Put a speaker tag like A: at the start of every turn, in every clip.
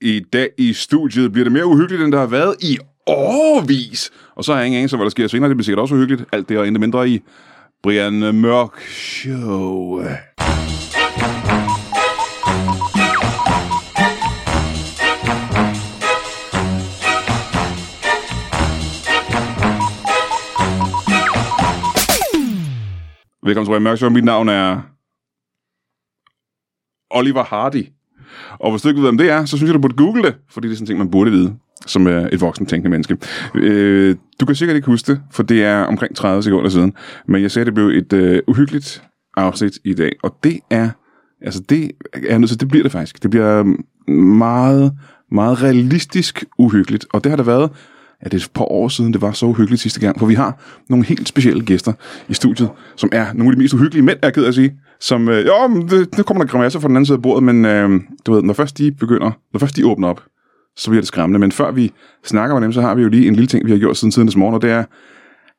A: i dag i studiet. Bliver det mere uhyggeligt, end der har været i årvis? Og så har jeg ingen anelse, om, hvad der sker senere. Det bliver sikkert også uhyggeligt. Alt det og intet mindre i Brian Mørk Show. Velkommen til Brian Mørk Show. Mit navn er Oliver Hardy. Og hvis du ikke ved, hvem det er, så synes jeg, du burde google det, fordi det er sådan en ting, man burde vide, som øh, et voksen tænkende menneske. Øh, du kan sikkert ikke huske det, for det er omkring 30 sekunder siden, men jeg sagde, at det blev et øh, uhyggeligt afsnit i dag, og det er, altså det er nødt til, det bliver det faktisk. Det bliver øh, meget, meget realistisk uhyggeligt, og det har der været, at det er et par år siden, det var så uhyggeligt sidste gang, for vi har nogle helt specielle gæster i studiet, som er nogle af de mest uhyggelige mænd, er jeg ked af at sige, som, øh, jo, men det, nu kommer der grimasser fra den anden side af bordet, men øh, du ved, når først de begynder, når først de åbner op, så bliver det skræmmende. Men før vi snakker med dem, så har vi jo lige en lille ting, vi har gjort siden tidens morgen, og det er,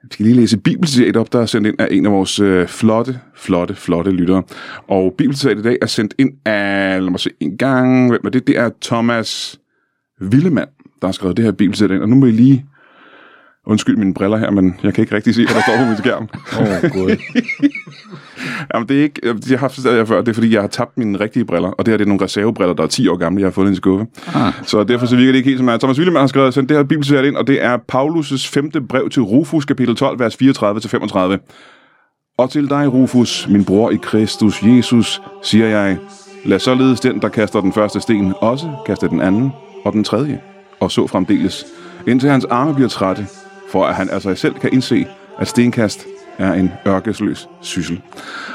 A: vi skal lige læse bibelcitat op, der er sendt ind af en af vores øh, flotte, flotte, flotte lyttere. Og bibelcitatet i dag er sendt ind af, lad mig se en gang, hvem er det? Det er Thomas Villemann, der har skrevet det her bibelcitat ind, og nu må I lige... Undskyld mine briller her, men jeg kan ikke rigtig se, hvad der står på min skærm.
B: Åh, gud.
A: Jamen, det er ikke, jeg har haft det før, det er fordi, jeg har tabt mine rigtige briller, og det her det er nogle reservebriller, der er 10 år gamle, jeg har fundet i en skuffe. Ah. Så derfor så virker det ikke helt som er. Thomas Willemann har skrevet sendt det her bibelsæt ind, og det er Paulus' femte brev til Rufus, kapitel 12, vers 34-35. Og til dig, Rufus, min bror i Kristus Jesus, siger jeg, lad således den, der kaster den første sten, også kaste den anden og den tredje, og så fremdeles, indtil hans arme bliver trætte, for at han af sig selv kan indse, at stenkast er en ørkesløs syssel.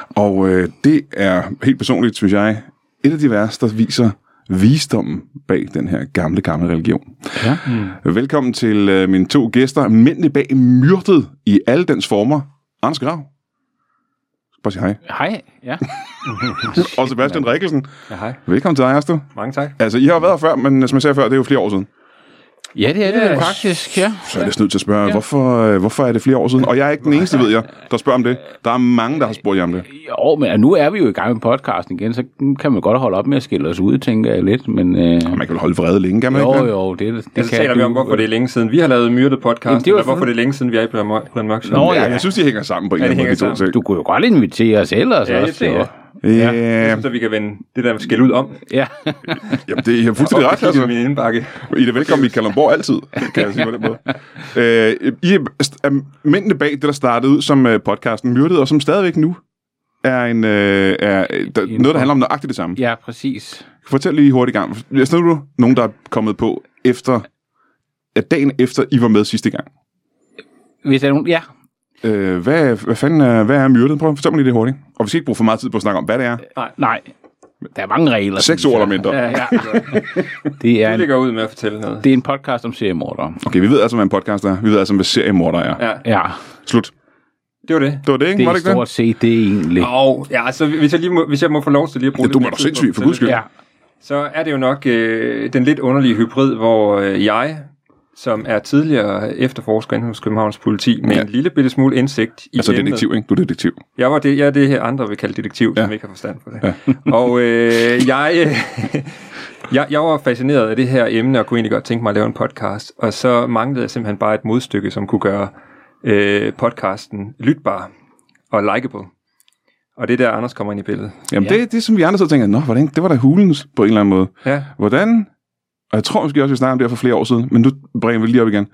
A: Og øh, det er helt personligt, synes jeg, et af de vers, der viser visdommen bag den her gamle, gamle religion.
B: Ja.
A: Mm. Velkommen til øh, mine to gæster, mændene bag myrdet i alle dens former. Anders Grav. Bare sig hej.
B: Hej. Ja.
A: Og Sebastian Rikkelsen.
B: ja, hej.
A: Velkommen til dig, Astrid.
C: Mange tak.
A: Altså, I har jo været her før, men som jeg sagde før, det er jo flere år siden.
B: Ja, det er det yes. faktisk, ja.
A: Så er jeg næsten nødt til at spørge, hvorfor, øh, hvorfor er det flere år siden? Og jeg er ikke den eneste, ved jeg, der spørger om det. Der er mange, der har spurgt jer om det.
B: Jo, men nu er vi jo i gang med podcasten igen, så kan man godt holde op med at skille os ud, tænker jeg lidt. Men, øh,
A: Man kan vel holde vrede længe, kan man ikke?
B: jo,
A: det?
B: jo, det, det
C: Det så taler vi om, hvorfor det er længe siden. Vi har lavet myrdet podcast,
B: Jamen,
C: Jamen,
B: det var
C: eller hvorfor
B: fun-
C: det er længe siden, vi er i Brian Mørk- Brian Mørk.
B: Nå,
A: Ja,
B: ja.
A: jeg synes, de hænger sammen på en
C: Ja,
A: eller anden måde, de
C: de
A: to
C: hænger
A: ting.
B: Du kunne jo godt invitere os ellers
C: Ja, det
B: også.
C: tænker
B: jo.
C: jeg.
A: Ja,
C: Så vi kan vende det der skæld ud om.
B: Ja.
A: jamen, det er fuldstændig ret,
C: Det er
A: altså.
C: min indbakke.
A: I er da velkommen i Kalamborg altid, kan jeg sige på den måde. Øh, I er, er mændene bag det, der startede ud som øh, podcasten Myrdet, og som stadigvæk nu er, en, øh, er øh, der, noget, der handler om nøjagtigt det samme.
B: ja, præcis.
A: Fortæl lige hurtigt i gang. Jeg snakker du nogen, der er kommet på efter, at dagen efter I var med sidste gang.
B: Hvis der er nogen, ja,
A: Øh, hvad, hvad fanden er, hvad er myrdet? Prøv at fortælle mig lige det hurtigt. Og vi skal ikke bruge for meget tid på at snakke om, hvad det er.
B: nej. Der er mange regler.
A: Seks
B: synes
A: ord
B: jeg.
A: eller mindre.
B: Ja, ja. Det er,
C: Vi
B: en,
C: ligger ud med at fortælle noget.
B: det er en podcast om seriemordere.
A: Okay, vi ved altså, hvad en podcast er. Vi ved altså, hvad seriemorder er.
C: Ja,
B: Ja,
A: Slut.
C: det var det.
A: Det var det, ikke?
B: det
A: var
B: er
A: det ikke det?
B: stort set det egentlig.
C: Og ja, altså, hvis jeg, lige må, hvis jeg må få lov til lige at bruge
A: Ja,
C: lidt
A: du må
C: mere
A: da
C: tid på
A: sindssygt, for
C: at
A: guds
C: fortælle
A: skyld.
B: Ja,
C: det, Så er det jo nok øh, den lidt underlige hybrid, hvor øh, jeg, som er tidligere efterforsker inde hos Københavns politi, med
A: Ja.
C: en lille bitte smule indsigt i
A: Altså
C: emnet.
A: detektiv, ikke? Du er detektiv.
C: Jeg var det, jeg er det her andre vil kalde detektiv, ja. som ikke har forstand på det. Ja. og øh, jeg, øh, jeg, jeg var fascineret af det her emne, og kunne egentlig godt tænke mig at lave en podcast. Og så manglede jeg simpelthen bare et modstykke, som kunne gøre øh, podcasten lytbar og likeable. Og det er der, Anders kommer ind i billedet.
A: Jamen, ja.
B: Ja.
A: det, det er som vi andre så tænker, nå, hvordan, det var da hulens på en eller anden måde.
C: Ja,
A: Hvordan, og jeg tror måske også, vi snakkede om det her for flere år siden, men nu bringer vi lige op igen.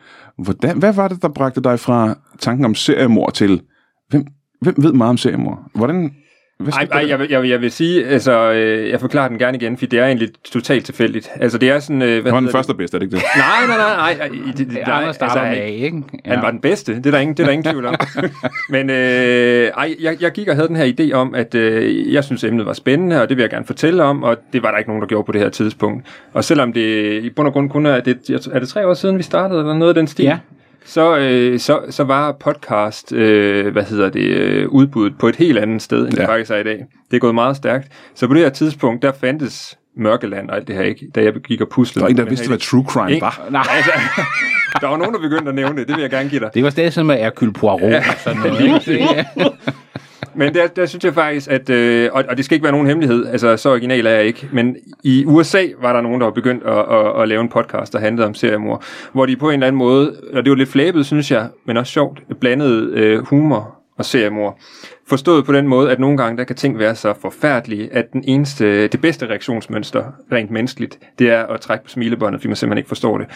A: Hvordan, hvad var det, der bragte dig fra tanken om seriemor til, hvem, hvem ved meget om seriemor? Hvordan, hvad
C: Ej,
A: skete der
C: ej,
A: der?
C: jeg, vil- jeg, vil- jeg vil sige, altså, øh, jeg forklarer den gerne igen, for det er egentlig totalt tilfældigt. Altså, det er sådan... Øh, hvad
A: Det var den
C: hedder
A: første og bedste, er det ikke det?
C: Nej, nej, nej, nej. nej, det- det-
B: det er
C: nej,
B: Anders, der
C: altså,
B: altså, med, ikke? Ja.
C: Han var den bedste, det er der ingen, det er der ingen tvivl om. Men øh, ej, jeg, jeg gik og havde den her idé om, at øh, jeg synes emnet var spændende, og det vil jeg gerne fortælle om, og det var der ikke nogen, der gjorde på det her tidspunkt. Og selvom det i bund og grund kun er, det, jeg tror- er det tre år siden, vi startede, eller noget af den stil,
B: Ja.
C: så, øh, så, så var podcast, øh, hvad hedder det, øh, udbuddet på et helt andet sted, end ja.
A: Ja.
C: det faktisk er i dag. Det er gået meget stærkt. Så på det her tidspunkt, der fandtes Mørkeland og alt det her ikke, da jeg gik og puslede.
A: Der var en, der
C: med
A: vidste,
C: den her
A: hvad true crime
C: Ikke?
A: var.
B: Nej, altså,
C: idé. Der var nogen, der begyndte at nævne det, det vil jeg gerne give dig.
B: det var stadig sådan med Hercule Poirot og sådan noget. ikke? Det-
C: men der, der synes jeg faktisk, at, øh, og, og det skal ikke være nogen hemmelighed, altså så original er jeg ikke, men i USA var der nogen, der var begyndt at, at, at lave en podcast, der handlede om seriemor, hvor de på en eller anden måde, og det var lidt flæbet, synes jeg, men også sjovt, blandede øh, humor og seriemor. Forstået på den måde, at nogle gange der kan ting være så forfærdelige, at den eneste, det bedste reaktionsmønster, rent menneskeligt, det er at trække på smilebåndet, fordi man simpelthen ikke forstår det.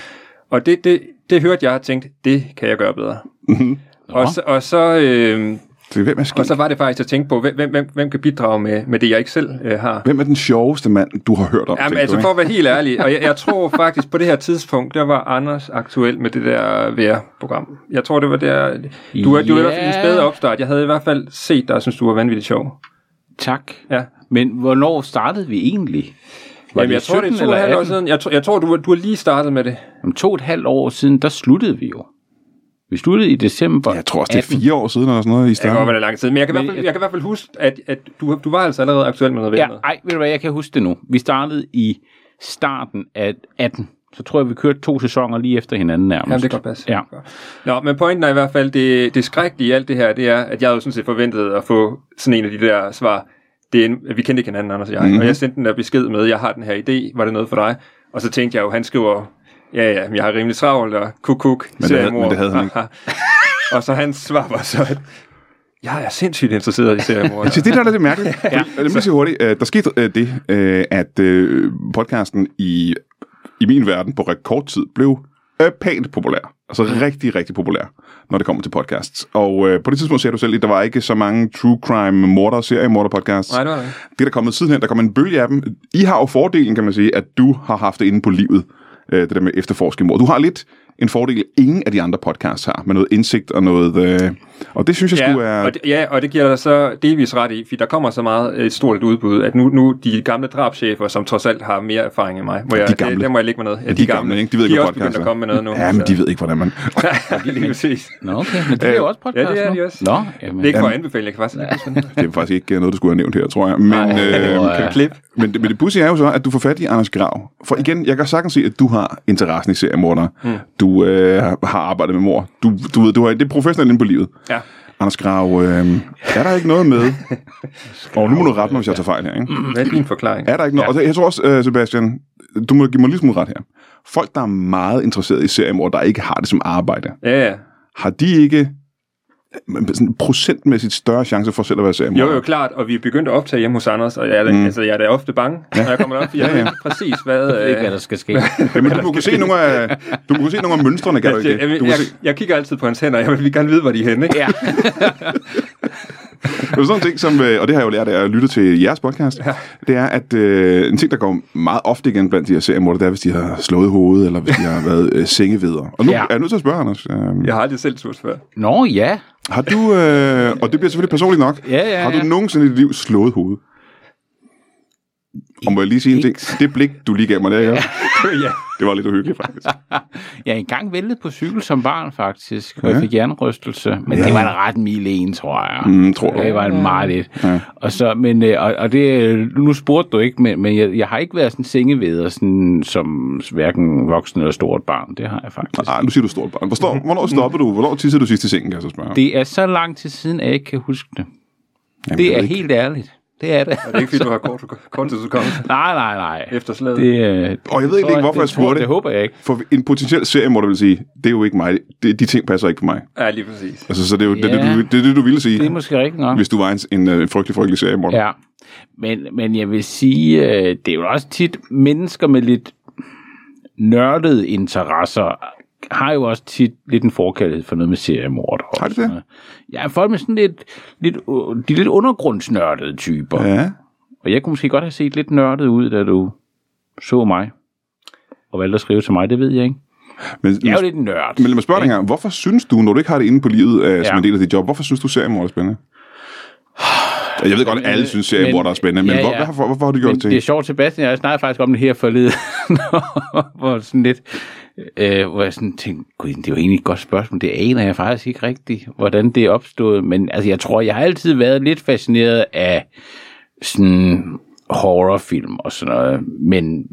C: Og det, det, det hørte jeg og tænkte, det kan jeg gøre bedre. Mm-hmm. Og så, og så øh,
A: Det er, hvem er skæg?
C: og så var det faktisk at tænke på, hvem, hvem, hvem kan bidrage med, med det, jeg ikke selv øh, har.
A: Hvem er den sjoveste mand, du har hørt om?
C: Jamen,
A: tænker
C: altså
A: du,
C: for
A: ikke?
C: at være helt ærlig, og jeg, jeg tror faktisk på det her tidspunkt, der var Anders aktuel med det der VR-program. Jeg tror, det var der... Du er, du er i hvert fald en
B: Ja.
C: spæde opstart. Jeg havde i hvert fald set dig og synes, du var vanvittigt sjov.
B: Tak.
C: Ja.
B: Men hvornår startede vi egentlig? Var
C: Jamen, jeg tror, det er to og et halvt år siden. Jeg, tror, jeg tror, du, du har lige startet med det.
B: Om to og et halvt år siden, der sluttede vi jo. Vi sluttede i december.
A: Jeg tror også, det er fire år siden, eller sådan noget, I
C: Det kan godt
A: starten.
C: være, det er lang tid. Men jeg kan,
B: Men
C: i hvert fald,
B: jeg-
C: jeg kan i hvert fald huske, at, at du, du var altså allerede aktuel med noget
B: Ja,
C: ved noget.
B: ej, ved du hvad, jeg kan huske det nu. Vi startede i starten af 18. Så tror jeg, vi kørte to sæsoner lige efter hinanden nærmest.
C: Jamen, det kan godt passe.
B: Ja.
C: Nå, men pointen er i hvert fald, det, det skrækkelige i alt det her, det er, at jeg havde jo sådan set forventet at få sådan en af de der svar. Det er en, vi kendte ikke hinanden, Anders og
A: Mhm.
C: jeg. Mm-hmm. Og jeg sendte den der besked med, jeg har den her idé, var det noget for dig? Og så tænkte jeg jo, han skriver, ja ja, men jeg har rimelig travlt, og kuk kuk,
A: det
C: seriemor.
A: havde- men det havde han ikke.
C: og så hans svar var så, at jeg er sindssygt interesseret i seriemor.
A: Så Altså, det der er da det mærkelige. ja. Lad mig sige hurtigt. Øh, Der skete øh, det, øh, at øh, podcasten i, i min verden på rekordtid blev øh, pænt populær. Altså rigtig, rigtig populær, når det kommer til podcasts. Og øh, på det tidspunkt ser du selv, at der var ikke så mange true crime morder og seriemorder podcasts.
C: Nej, det var der ikke.
A: Det er der kommet sidenhen, der kommer en bølge af dem. I har jo fordelen, kan man sige, at du har haft det inde på livet, øh, det der med efterforske mord. Du har lidt en fordel, ingen af de andre podcasts har, med noget indsigt og noget... Øh, og det synes jeg skulle
C: ja,
A: er...
C: og det, ja, og det giver dig så delvis ret i, fordi der kommer så meget øh, et stort et udbud, at nu, nu de gamle drabschefer, som trods alt har mere erfaring end mig, må jeg,
A: gamle.
C: Det, der må jeg ligge med noget. Ja,
A: de, gamle, ikke? De ved
C: de
A: ikke,
C: er
A: hvad
C: også begyndt
A: podcast
C: at komme med noget nu.
A: Ja, men de ved ikke, hvordan man...
C: ved. lige præcis.
B: Nå, okay. Men det er jo også podcast
C: ja, det er
B: nu.
C: de også.
B: Nå, jamen.
C: Det er ikke for at anbefale, jeg kan faktisk ikke huske,
A: Det er faktisk ikke øh, noget, du skulle have nævnt her, tror jeg. Men,
B: Nej, det var,
A: øh,
B: ja.
C: klip.
A: men, det- men det pudsige er jo så, at du får fat i Anders Grav. For igen, jeg kan sagtens se, at du har interessen i seriemordere. Mm. Du øh, har arbejdet med mor. Du, du ved, du har, det er professionelt inde på livet.
C: Ja.
A: Anders Grav, øh, er der ikke noget med... Og nu må du rette mig, hvis jeg tager fejl her, ikke?
C: Hvad er din forklaring?
A: Er der ikke noget? Ja. Og det- jeg tror også, øh, Sebastian, du må give mig lidt ret her. Folk, der er meget interesseret i seriemord, der ikke har det som arbejde,
C: Ja, ja.
A: har de ikke men sådan procentmæssigt større chance for selv at være seriemord?
C: Jo, jo, klart, og vi er begyndt at optage hjemme hos Anders, og jeg er, da, mm. altså, jeg er da ofte bange, når jeg kommer op, for jeg
A: Ja, ja.
C: ved ikke præcis, hvad... øh,
B: Jeg ved ikke, hvad der skal ske.
A: Jamen, du må kunne se nogle af, du må kunne se nogle af mønstrene, kan du ikke?
C: jeg,
A: det? Du
C: jeg,
A: kunne
C: jeg,
A: se,
C: jeg kigger altid på hans hænder, jeg vil gerne vide, hvor de er henne. Ikke?
B: Ja.
A: det er sådan en ting, som, øh, og det har jeg jo lært af at lytte til jeres podcast, det er, at øh, en ting, der går meget ofte igen blandt de her seriemorder, det er, hvis de har slået hovedet, eller hvis de har været øh, sengeveder. Og nu
B: Ja.
A: er jeg nødt til at spørge, Anders. Øh,
C: Jeg har aldrig selv turt før.
B: Nå, ja.
A: Har du, øh, og det bliver selvfølgelig personligt nok,
B: Ja, ja,
A: har du
B: ja.
A: nogensinde i dit liv slået hovedet? Og må jeg lige sige en ting? Det blik, du lige gav mig der, ja.
C: ja.
A: det var lidt uhyggeligt faktisk.
B: Jeg er engang væltet på cykel som barn, faktisk, og jeg fik hjernerystelse. Men det var en ret mild en, tror jeg.
A: Mm, tror du.
B: Det var en meget lidt. Og, så, men, øh, og, og det, øh, nu spurgte du ikke, men, men jeg, jeg, har ikke været sådan sengeveder, sådan, som hverken voksen eller stort barn. Det har jeg faktisk.
A: Ah, nu siger du stort barn. Hvornår, hvornår stoppede du? Hvornår tissede du sidst i sengen, kan jeg så spørge?
B: Det er så lang tid siden, at jeg ikke kan huske det.
A: Jamen, jeg
B: Det er
A: ved ikke.
B: helt ærligt. Det er det.
C: Det er ikke, fordi du har kort, kort tid,
B: Nej, nej, nej.
C: efter slaget.
B: Det, øh,
A: Og jeg ved egentlig ikke, hvorfor jeg
B: det tror
A: spurgte.
B: Det håber jeg ikke.
A: For en potentiel seriemorder vil sige, det er jo ikke mig. Det, de ting passer ikke på mig.
C: Ja, lige præcis.
A: Altså, så det er jo ja. det,
B: Ja.
A: det, du, det, er det, du ville sige,
B: Det er måske rigtigt nok.
A: hvis du var en, en, øh, en frygtelig, frygtelig seriemorder.
B: Ja, men, men jeg vil sige, øh, det er jo også tit mennesker med lidt nørdede interesser har jo også tit lidt en forkærlighed for noget med seriemord.
A: Har de det?
B: Ja, folk med sådan lidt, lidt, øh, de lidt undergrundsnørdede typer. Ja.
A: Ja.
B: Og jeg kunne måske godt have set lidt nørdet ud, da du så mig og valgte at skrive til mig, det ved jeg ikke.
A: Men,
B: Jeg er jo
A: men
B: lidt en nørd.
A: lad mig spørge dig engang, hvorfor synes du, når du ikke har det inde på livet øh, som
B: Ja.
A: en del af dit job, hvorfor synes du seriemorder er spændende? Og Jeg ved godt, at alle synes, seriemorder er spændende, men
B: Øh, ja,
A: ja,
B: ja.
A: ja. Hvorfor, hvorfor har du gjort
B: Men
A: det
B: det er
A: til?
B: sjovt, Sebastian, jeg snakkede faktisk om det her forleden, hvor, sådan lidt, øh, hvor jeg sådan tænkte, gud, det er jo egentlig et godt spørgsmål, det aner jeg faktisk ikke rigtigt, hvordan det er opstået, men altså, jeg tror, jeg har altid været lidt fascineret af sådan horrorfilm og sådan noget, men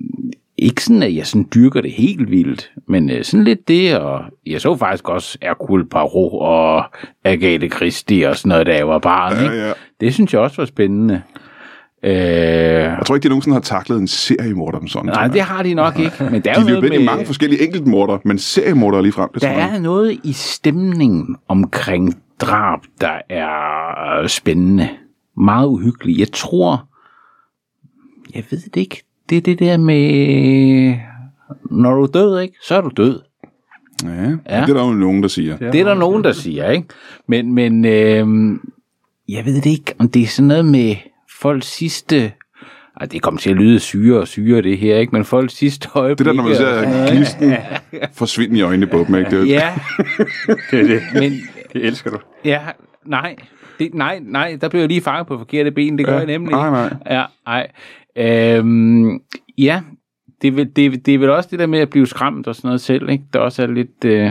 B: ikke sådan, at jeg sådan dyrker det helt vildt, men øh, sådan lidt det, og jeg så faktisk også Hercule Poirot og Agatha Christie og sådan noget, da jeg var barn. Ikke?
A: ja.
B: Det synes jeg også var spændende. Øh,
A: Jeg tror ikke, de nogensinde har taklet en seriemorder om sådan.
B: nej, det har de nok ikke, men der er
A: de
B: jo
A: er
B: noget
A: løbet ind i
B: med...
A: mange forskellige enkeltmorder, men seriemorder lige frem. Det
B: Der
A: tror jeg.
B: er noget i stemningen omkring drab, der er øh, spændende. Meget uhyggelig. Jeg tror, jeg ved det ikke. Det er det der med, når du er død, ikke? så er du død.
A: Ja. ja. Det er der jo nogen, der siger.
B: Det er der nogen, der siger, ikke? Men, men øh, jeg ved det ikke, om det er sådan noget med folks sidste... Ej, det kommer til at lyde syre og syre, det her, ikke? Men folks sidste øjeblik...
A: Det er der, når man ser gnisten forsvinde i øjnene på dem. Ikke? Det er,
B: Ja,
C: Det, er det,
B: men
C: det elsker du.
B: Ja, nej. Det, nej, nej, der blev jeg lige fanget på forkerte ben. Det gør
A: Ja,
B: jeg nemlig.
A: nej, nej.
B: ikke. Ja, nej. Øhm, ja, det er, vel, det, er- det er vel også det der med at blive skræmt og sådan noget selv, ikke? Der også er lidt, øh,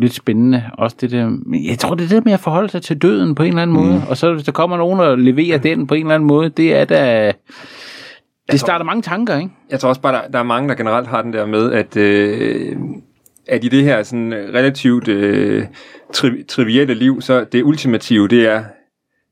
B: lidt spændende. Også det der, men jeg tror, det er det der med at forholde sig til døden på en eller anden måde.
A: Mm.
B: Og så hvis der kommer nogen og leverer den på en eller anden måde, det er da... Det starter mange tanker, ikke?
C: Jeg tror også bare, der, der er mange, der generelt har den der med, at, øh, at i det her sådan relativt øh, tri- trivielle liv, så det ultimative, det er,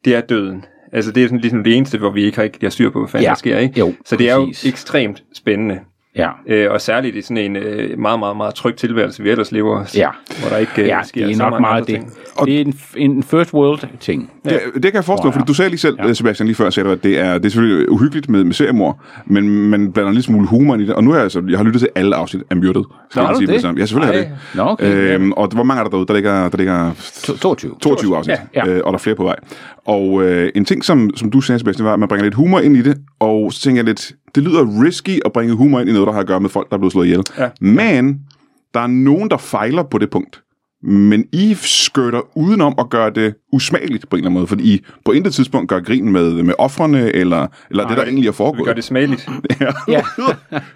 C: det er døden. Altså det er sådan ligesom det eneste, hvor vi ikke rigtig har styr på, hvad fanden
B: Ja.
C: ja. der sker, ikke?
B: Jo,
C: så det er jo
B: præcis.
C: ekstremt spændende.
B: Ja.
C: Øh, og særligt i sådan en øh, meget, meget, meget tryg tilværelse, vi ellers lever,
B: Ja.
C: hvor der ikke øh,
B: Ja,
C: sker
B: det er
C: så
B: nok
C: mange
B: meget
C: andre
B: det.
C: ting.
B: Det er en, en first world ting.
A: det, det kan jeg forstå, fordi du sagde lige selv, ja. Sebastian, lige før sagde du, at det er, det er selvfølgelig uhyggeligt med, med seriemor, men man blander en lille smule humor ind i det. Og nu har jeg, altså, jeg har lyttet til alle afsnit af Myrdet. Skal
B: har
A: jeg
B: du
A: sige med
B: det?
A: samme. Ja, selvfølgelig har
C: Ej.
A: jeg det.
B: Nå, okay.
A: Øhm, og hvor mange er der derude? Der ligger, der ligger
B: To- 22.
A: 22 afsnit,
B: Ja.
A: ja, ja. Øh, og der er flere på vej. Og øh, en ting, som, som du sagde, Sebastian, var, at man bringer lidt humor ind i det, og så tænker jeg lidt, det lyder risky at bringe humor ind i noget, der har at gøre med folk, der er blevet slået ihjel.
C: Ja.
A: Men der er nogen, der fejler på det punkt. Men I skøtter udenom at gøre det usmageligt på en eller anden måde, fordi I på intet tidspunkt gør grin med, med offrene, eller, eller det, der egentlig er
C: Vi
A: foregået.
C: gør det smageligt.
B: Ja.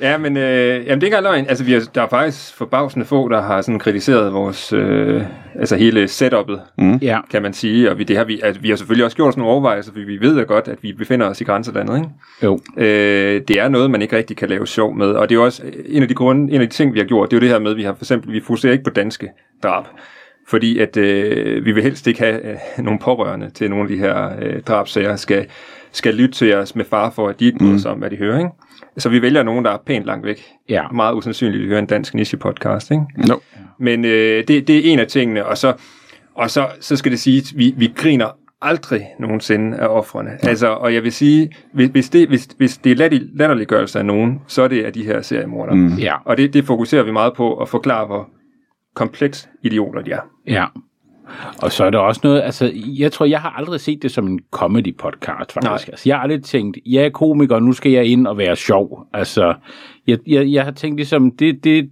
C: Ja, men øh, jamen, det er ikke engang løgn. Altså, vi er, der er faktisk forbavsende få, der har sådan kritiseret vores, øh, altså hele setup'et, mm.
B: ja.
C: kan man sige. Og vi, det har vi, altså, vi har selvfølgelig også gjort os nogle overvejelser, fordi vi ved jo godt, at vi befinder os i grænselandet. Ikke?
B: Jo.
C: Øh, det er noget, man ikke rigtig kan lave sjov med. Og det er jo også øh, en af de, grunde, en af de ting, vi har gjort, det er jo det her med, at vi har for eksempel, vi fokuserer ikke på danske drab. Fordi at øh, vi vil helst ikke have øh, nogle pårørende til nogle af de her øh, drabsager, skal, skal lytte til os med far for, at de ikke bryder sig om, hvad de hører. Ikke? Så vi vælger nogen, der er pænt langt væk.
B: Ja.
C: Meget usandsynligt, at høre en dansk niche-podcast. Ikke?
A: No.
C: Men øh, det, det er en af tingene, og så, og så, så skal det sige, at vi, vi griner aldrig nogensinde af offrene. Altså, og jeg vil sige, hvis, hvis, det, hvis, hvis det er latterlig- latterliggørelse af nogen, så er det af de her seriemordere. Mm.
B: Ja.
C: Og det, det fokuserer vi meget på at forklare, hvor kompleks idioter de er.
B: Ja. Og så er der også noget, altså jeg tror, jeg har aldrig set det som en comedy podcast faktisk.
C: Nej.
B: Altså, jeg har aldrig tænkt, jeg er komiker, nu skal jeg ind og være sjov. Altså, jeg, jeg, jeg har tænkt ligesom, det, det,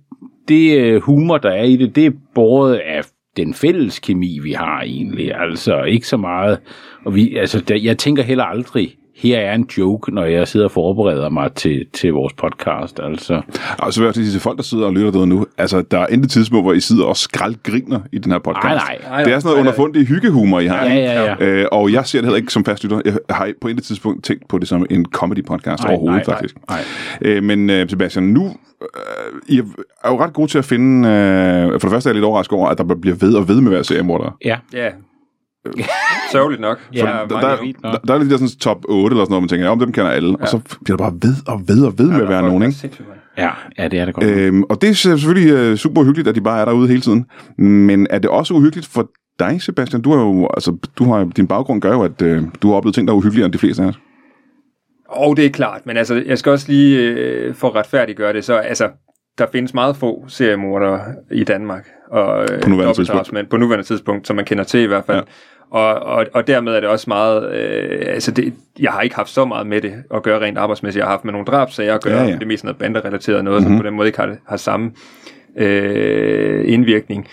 B: det øh, humor, der er i det, det er båret af den fælles kemi, vi har egentlig. Altså, ikke så meget. Og vi, altså, der, jeg tænker heller aldrig, her er en joke, når jeg sidder og forbereder mig til, til vores podcast. Altså,
A: Og så vil jeg også lige sige til folk, der sidder og lytter derude nu, altså der er intet tidspunkt, hvor I sidder og skraldgriner i den her podcast.
B: Nej, nej.
C: Nej,
A: Det er sådan noget
C: nej, nej.
A: underfundig hyggehumor, I har.
B: Ja,
A: ikke?
B: ja, ja.
A: Øh, og jeg ser det heller ikke som fastlytter. Jeg har på intet tidspunkt tænkt på det som en comedy-podcast
B: Nej,
A: overhovedet,
B: nej, nej,
A: faktisk.
B: nej.
A: Øh, men øh, Sebastian, nu øh, I er jo ret gode til at finde... Øh, for det første er jeg lidt overrasket over, at der bliver ved og ved med hver seriemorder.
B: ja.
C: Ja. Sørgeligt nok.
B: Ja,
C: Der er
A: der,
C: mange
A: der,
C: af dem.
A: der, der er lidt der sådan top 8 eller sådan noget, man tænker, ja, om dem kender alle. Ja. Og så bliver der bare ved og ved og ved ja, med at
C: Der er
A: være
C: folk,
A: nogen,
C: der er
A: ikke?
C: sindssygt mange.
B: Ja, ja, det er det godt.
A: Øhm, og det er selvfølgelig øh, super hyggeligt, at de bare er derude hele tiden. Men er det også uhyggeligt for dig, Sebastian? Du har jo, altså, du har, din baggrund gør jo, at øh, du har oplevet ting, der er uhyggeligere end de fleste af os.
C: Og det er klart, men altså, jeg skal også lige øh, for at retfærdiggøre det, så altså, der findes meget få seriemordere i Danmark. Og, øh,
A: På nuværende
C: dobbeltdrabsmænd
A: tidspunkt.
C: På nuværende tidspunkt, som man kender til i hvert fald. Ja. Og, og, og dermed er det også meget, øh, altså det, jeg har ikke haft så meget med det at gøre rent arbejdsmæssigt. Jeg har haft med nogle drabsager at gøre,
A: Ja,
C: ja,
A: ja. Mhm.
C: ja. det er mest noget banderelateret noget, mm-hmm. som på den måde ikke har, har samme øh, indvirkning.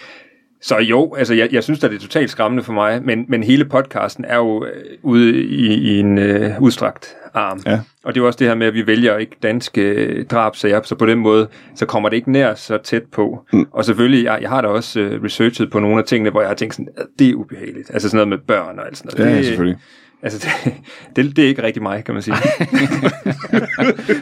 C: Så jo, altså jeg, jeg synes da, det er totalt skræmmende for mig, men, men hele podcasten er jo øh, ude i, i en øh, udstrakt arm.
A: Ja.
C: Og det er jo også det her med, at vi vælger ikke danske øh, drabsager, så på den måde, så kommer det ikke nær så tæt på. Mm. Og selvfølgelig, jeg, jeg har da også øh, researchet på nogle af tingene, hvor jeg har tænkt sådan, "Ad, det er ubehageligt. Altså sådan noget med børn og alt sådan noget.
A: Ja,
C: det,
A: selvfølgelig.
C: Altså, det, det, det er ikke rigtig mig, kan man sige.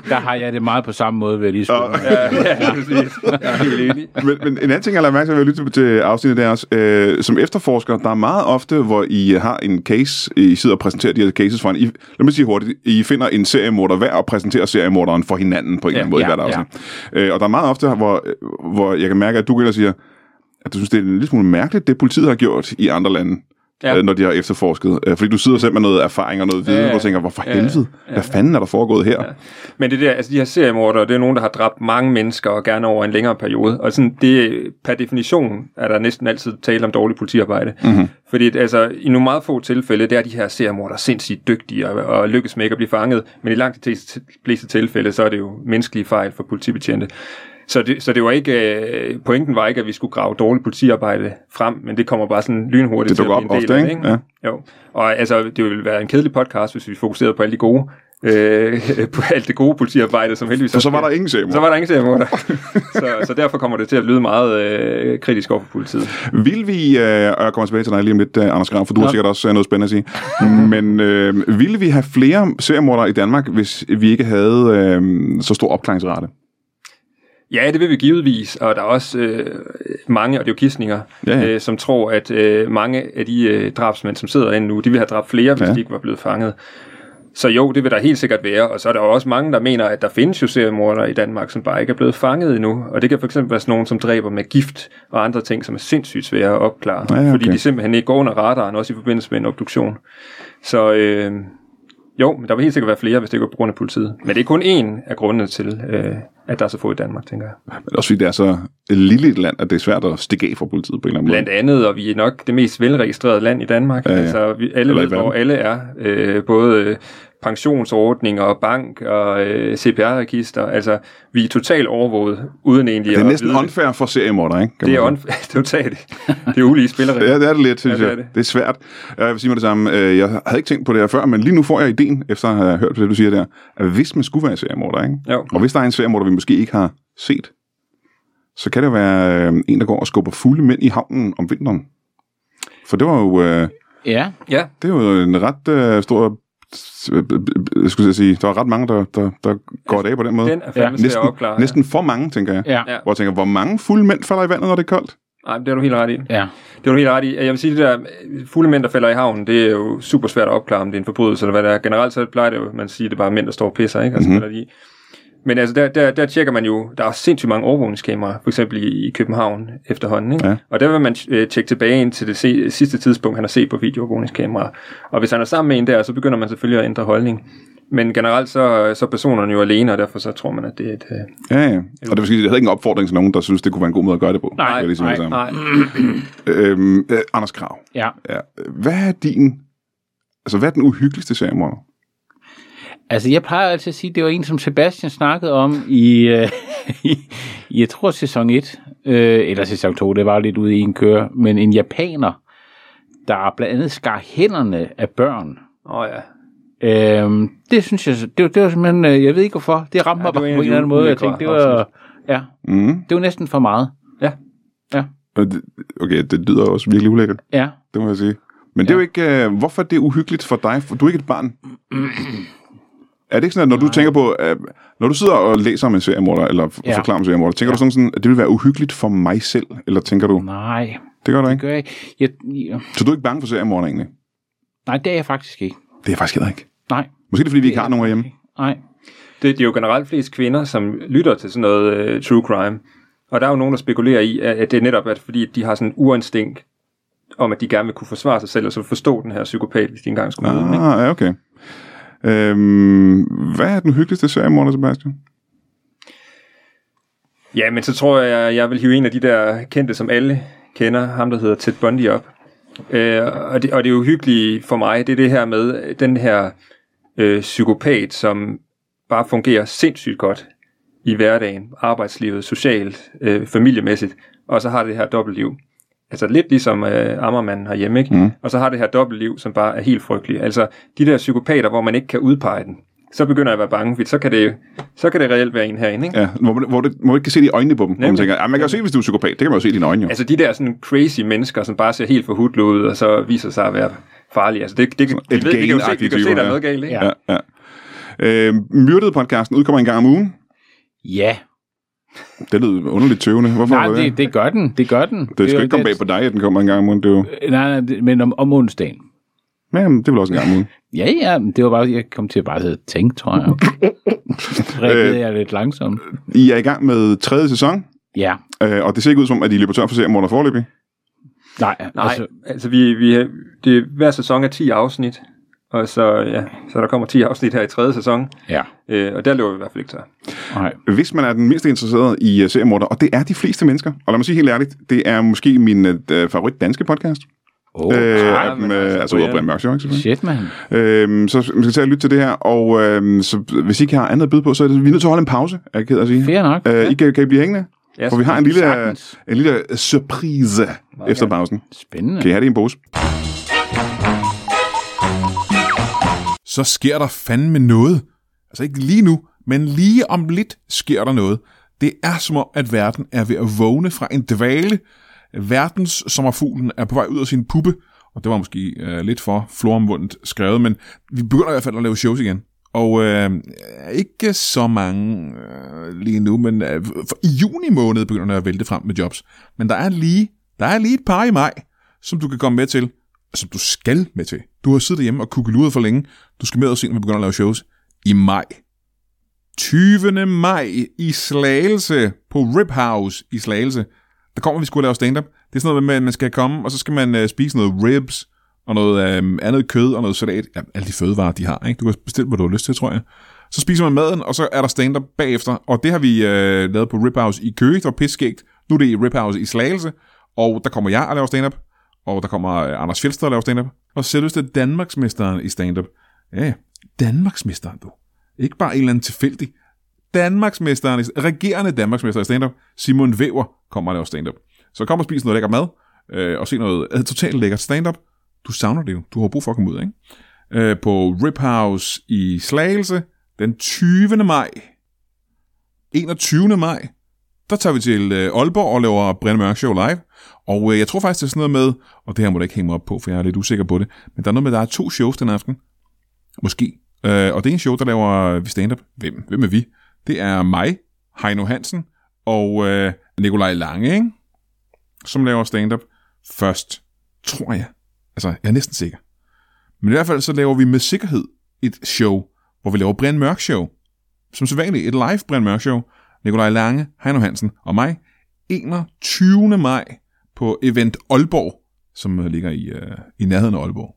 B: Der har jeg det meget på samme måde, vil jeg lige
A: Og-
B: spørge.
C: ja, præcis. Jeg er helt enig.
A: men, men en anden ting, jeg lader mærke til, at jeg lytter til afsnittet, det er også, øh, som efterforsker, der er meget ofte, hvor I øh, har en case, I sidder og præsenterer de her cases for hinanden. I, lad mig sige hurtigt, I finder en seriemorder hver og præsenterer seriemorderen for hinanden på en eller anden måde
B: ja,
A: i hvert afsnit. Øh, og der er meget ofte, hvor, øh, hvor jeg kan mærke, at du gælder siger, at du synes, det er en lille smule mærkeligt, det politiet har gjort i andre lande. Ja.
C: Ja.
A: Øh, når de har efterforsket. Øh, fordi du sidder selv med noget erfaring og noget viden, ja,
C: ja.
A: hvor du tænker, hvorfor
C: Ja, ja.
A: helvede? Hvad fanden er der foregået her?
C: Men det der, altså de her seriemordere, det er nogen, der har dræbt mange mennesker, og gerne over en længere periode. Og sådan, det, per definition er der næsten altid tale om dårligt politiarbejde.
A: Mhm.
C: Mm-hmm. Fordi at, altså, i nogle meget få tilfælde, der er de her seriemordere sindssygt dygtige og, og lykkes med ikke at blive fanget. Men i langt de fleste tilfælde, så er det jo menneskelige fejl for politibetjente. Så det, så det var ikke, øh, pointen var ikke, at vi skulle grave dårligt politiarbejde frem, men det kommer bare sådan lynhurtigt
A: Det
C: til at
A: dukker
C: blive
A: op
C: en del
A: ofte,
C: af det,
A: ikke?
C: ikke? Jo, og altså, det ville være en kedelig podcast, hvis vi fokuserede på alle de gode, øh, på alt det gode politiarbejde, som heldigvis...
A: For så var
C: også-
A: der ingen seriemorder.
C: Så var der ingen seriemorder. så, så derfor kommer det til at lyde meget øh, kritisk over for politiet.
A: Vil vi, øh, og jeg kommer tilbage til dig lige om lidt, øh, Anders Grav, for du har sikkert også øh, noget spændende at sige, men øh, ville vi have flere seriemordere i Danmark, hvis vi ikke havde øh, så stor opklaringsrate?
C: Ja, det vil vi givetvis, og der er også øh, mange, og det er jo kistninger,
A: Ja,
C: ja,
A: ja.
C: ja. Øh, som tror, at øh, mange af de øh, drabsmænd, som sidder inde nu, de ville have dræbt flere, hvis
A: Ja.
C: ja. de ikke var blevet fanget. Så jo, det vil der helt sikkert være, og så er der jo også mange, der mener, at der findes jo seriemordere i Danmark, som bare ikke er blevet fanget endnu. Og det kan fx være sådan nogen, som dræber med gift og andre ting, som er sindssygt svære at opklare,
A: Ja, ja,
C: fordi
A: okay.
C: de simpelthen ikke går under radaren, også i forbindelse med en obduktion. Så øh, jo, men der vil helt sikkert være flere, hvis det ikke var på grund af politiet. Men det er kun én af grundene til, øh, at der er så få i Danmark, tænker jeg.
A: Men også fordi det er så lille et land, at det er svært at stikke af fra politiet på en eller anden
C: Blandt
A: måde.
C: andet, og vi er nok det mest velregistrerede land i Danmark.
A: Ja,
C: Ja,
A: ja.
C: ja. Altså, vi alle
A: Eller i
C: ved, hvor
A: verden.
C: alle er. Øh, både øh, pensionsordninger, og bank og øh, CPR-register. Altså, vi er totalt overvåget, uden egentlig
A: Det er
C: at
A: næsten
C: vide
A: unfair for seriemordere, ikke? Kan
C: det. Det er
A: man sige.
C: unfair. totalt. Det er ulige spilleregler.
A: Ja, det er det lidt, synes
C: Ja, det er
A: jeg.
C: det.
A: Det er svært. Jeg vil sige mig det samme. Øh, Jeg havde ikke tænkt på det her før, men lige nu får jeg ideen, efter at have hørt på det, du siger der, at hvis man skulle være en seriemorder, ikke?
C: Jo.
A: og hvis der er en seriemorder, vi måske ikke har set, så kan det være øh, en, der går og skubber fulde mænd i havnen om vinteren. For det var jo, øh,
B: Ja,
C: Ja,
A: det var jo en ret øh, stor... Jeg skulle til at sige, der er ret mange, der, der, der går det af på den måde.
C: den er fandme ja, svær at
A: næsten,
C: opklare.
A: næsten for mange, tænker jeg.
B: ja,
C: Ja.
A: Hvor jeg tænker, hvor mange fulde mænd falder i vandet, når det er koldt?
C: Nej, det har du helt ret i.
B: ja.
C: Det er du helt ret i. Jeg vil sige, det der øh, fulde mænd, der falder i havnen, det er jo super svært at opklare, om det er en forbrydelse eller hvad det er. Generelt så plejer det jo, man siger, det er bare mænd, der står og pisser, ikke? Altså, mm-hmm. i. Men altså, der, der, der tjekker man jo, der er sindssygt mange overvågningskameraer, for eksempel i, i København efterhånden, ikke?
A: Ja.
C: Og der vil man øh, tjekke tilbage ind til det se, sidste tidspunkt, han har set på videoovervågningskameraer. Og hvis han er sammen med en der, så begynder man selvfølgelig at ændre holdning. Men generelt så, så er personerne jo alene, og derfor så tror man, at det er et... Øh,
A: Ja, ja. Og det, vil sige, det er heller ikke en opfordring til nogen, der synes, det kunne være en god måde at gøre det på.
B: Nej,
A: Skal jeg lige sige med det
C: nej.
A: samme. Øhm, øh, Anders Krav,
B: ja.
A: ja. hvad er din... Altså, hvad er den uhyggeligste seriemorder?
B: Altså, jeg plejer altid at sige, at det var en, som Sebastian snakkede om i, øh, i i, jeg tror, sæson 1, øh, eller sæson 2, det var lidt ude i en køre, men en japaner, der blandt andet skar hænderne af børn.
C: Åh oh, ja.
B: Øh, det synes jeg, det, var- det var simpelthen, øh, jeg ved ikke hvorfor, det ramte
C: Ja,
B: ja, mig
C: det var
B: bare
C: en
B: på
C: af
B: en eller anden måde.
C: de
B: Jeg
C: ulækre
B: tænkte, det var, ja,
A: Mm.
B: det var næsten for meget.
A: Og det- Okay, det lyder også virkelig ulækkert,
B: Ja.
A: det må jeg sige. Men det er jo ikke... Øh, hvorfor er det uhyggeligt for dig? For du er ikke et barn. er det ikke sådan, at når du tænker på... Øh, når du sidder og læser om en seriemorder, eller f-
B: Ja.
A: forklarer om en seriemorder, tænker ja. du sådan sådan, at det vil være uhyggeligt for mig selv? Eller tænker du...
B: Nej,
A: Det gør du
B: det
A: ikke.
B: gør jeg ikke. Jeg, jeg,
A: Så du er ikke bange for seriemorder egentlig?
B: nej, det er jeg faktisk ikke.
A: Det er jeg faktisk heller ikke.
B: Nej,
A: Måske er det, fordi vi ikke har nogen herhjemme.
B: nej.
C: Det, det er jo generelt flest kvinder, som lytter til sådan noget øh, true crime. Og der er jo nogen, der spekulerer i, at, at det er netop at fordi, at de har sådan en urinstinkt om, at de gerne vil kunne forsvare sig selv, og så forstå den her psykopat, hvis de engang skulle møde den. Ikke?
A: Ah, ja, okay. Øhm, hvad er den hyggeligste seriemorder, Sebastian?
C: Ja, men så tror jeg, jeg vil hive en af de der kendte, som alle kender, ham der hedder Ted Bundy op. Øh, og, det, og det er jo hyggeligt for mig, det er det her med øh, den her øh, psykopat, som bare fungerer sindssygt godt i hverdagen, arbejdslivet, socialt, øh, familiemæssigt, og så har det her dobbeltliv. Altså lidt ligesom øh, Ammermanden herhjemme, ikke?
A: Mm.
C: Og så har det her dobbeltliv, som bare er helt frygteligt. Altså de der psykopater, hvor man ikke kan udpege den. så begynder jeg at være bange, fordi så kan det, så kan det reelt være en herinde. Ikke?
D: Ja, hvor, man, hvor, det, hvor man ikke kan se det i øjnene på dem. Hvor man tænker, "Ah, man kan jo se, hvis du er psykopat. Det kan man jo se i dine øjne, jo.
C: Altså de der sådan crazy mennesker, som bare ser helt forhudlet ud, og så viser sig at være farlige. Altså det, det, vi, ved, vi kan jo se, vi kan jo se, der er noget galt. Ikke?
D: Ja, ja. Øh, Myrdet-podcasten udkommer en gang om ugen.
B: Ja.
D: Det lyder underligt tøvende. Hvorfor?
B: Nej,
D: var
B: det, det gør den. Det gør den.
D: Det
B: er
D: skal
B: jo
D: ikke komme bag på dig, at den kommer en gang om ugen. Det er jo...
B: Øh, Nej, nej, det- men om, om onsdagen.
D: Ja, men det er vel også en gang om ugen.
B: Ja, ja, men det var bare, jeg kom til at bare sidde og tænke, tror jeg. Rækkede jeg lidt langsomt.
D: I er i gang med tredje sæson,
B: Ja,
D: øh, og det ser ikke ud som, at I løber tør for seriemorder forløbig.
B: nej,
C: Nej, altså, altså vi, vi, det, er- hver sæson er 10 afsnit, og så, ja, så der kommer 10 afsnit her i tredje sæson,
B: ja,
C: øh, og der løber vi i hvert fald ikke tør.
B: nej.
D: Hvis man er den mindste interesseret i uh, seriemorder, og det er de fleste mennesker, og lad mig sige helt ærligt, det er måske min uh, favorit danske podcast.
B: Oh,
D: øh, af
C: men
D: dem,
C: altså,
D: øh, altså ud af Brian Mørk Show, ikke? selvfølgelig.
B: shit, mand.
D: Øhm, så man skal tage og lytte til det her, og øhm, så, hvis I ikke har andet at byde på, så er det, vi er nødt til at holde en pause, er jeg ked af at sige.
B: Fair nok.
D: Øh, I kan, kan I blive hængende?
C: Ja,
D: For vi har en lille,
B: sagtens.
D: en lille surprise efter pausen.
B: Spændende.
D: Kan I have det i en pose?
A: så sker der fandme noget. Altså ikke lige nu, men lige om lidt sker der noget. Det er som om, at verden er ved at vågne fra en dvale. Verdens sommerfuglen er på vej ud af sin puppe, og det var måske øh, lidt for floromvundet skrevet, men vi begynder i hvert fald at lave shows igen. Og øh, ikke så mange øh, lige nu, men øh, for i juni måned begynder der at vælte frem med jobs. Men der er lige, der er lige et par i maj, som du kan komme med til som du skal med til. Du har siddet hjemme og kukkeluret for længe. Du skal med og se, når vi begynder at lave shows i maj. 20. maj i Slagelse på Rip House i Slagelse. Der kommer vi skulle lave stand-up. Det er sådan noget med, at man skal komme, og så skal man øh, spise noget ribs og noget øh, andet kød og noget salat. Ja, alle de fødevarer, de har. Ikke? Du kan bestille, hvad du har lyst til, tror jeg. Så spiser man maden, og så er der stand-up bagefter. Og det har vi øh, lavet på Rip House i Køge. Det var pisseskægt. Nu er det i Rip House i Slagelse. Og der kommer jeg og laver stand-up og der kommer øh, Anders Fjeldsted og laver stand-up, og selveste Danmarksmesteren i stand-up. Ja, ja. Danmarksmesteren, du. Ikke bare en eller anden tilfældig. Danmarksmesteren, i- regerende Danmarksmester i stand-up, Simon Væver, kommer og laver stand-up. Så kom og spis noget lækker mad, øh, og se noget øh, totalt lækkert stand-up. Du savner det jo. Du har jo brug for at komme ud, ikke? Øh, på Rip House i Slagelse, den 20. maj. 21. maj, der tager vi til øh, Aalborg og laver Brian Mørk Show live. Og øh, jeg tror faktisk, det er sådan noget med, og det her må du ikke hænge mig op på, for jeg er lidt usikker på det, men der er noget med, at der er to shows den aften. Måske. Øh, og det ene show, der laver øh, vi stand-up. Hvem? Hvem er vi? Det er mig, Heino Hansen og øh, Nikolaj Lange, ikke? som laver stand-up først, tror jeg. Altså, jeg er næsten sikker. Men i hvert fald så laver vi med sikkerhed et show, hvor vi laver Brian Mørk Show som sædvanligt et live Brian Mørk Show, Nikolaj Lange, Heino Hansen og mig, 21. maj på Event Aalborg, som øh, ligger i, øh, i nærheden af Aalborg.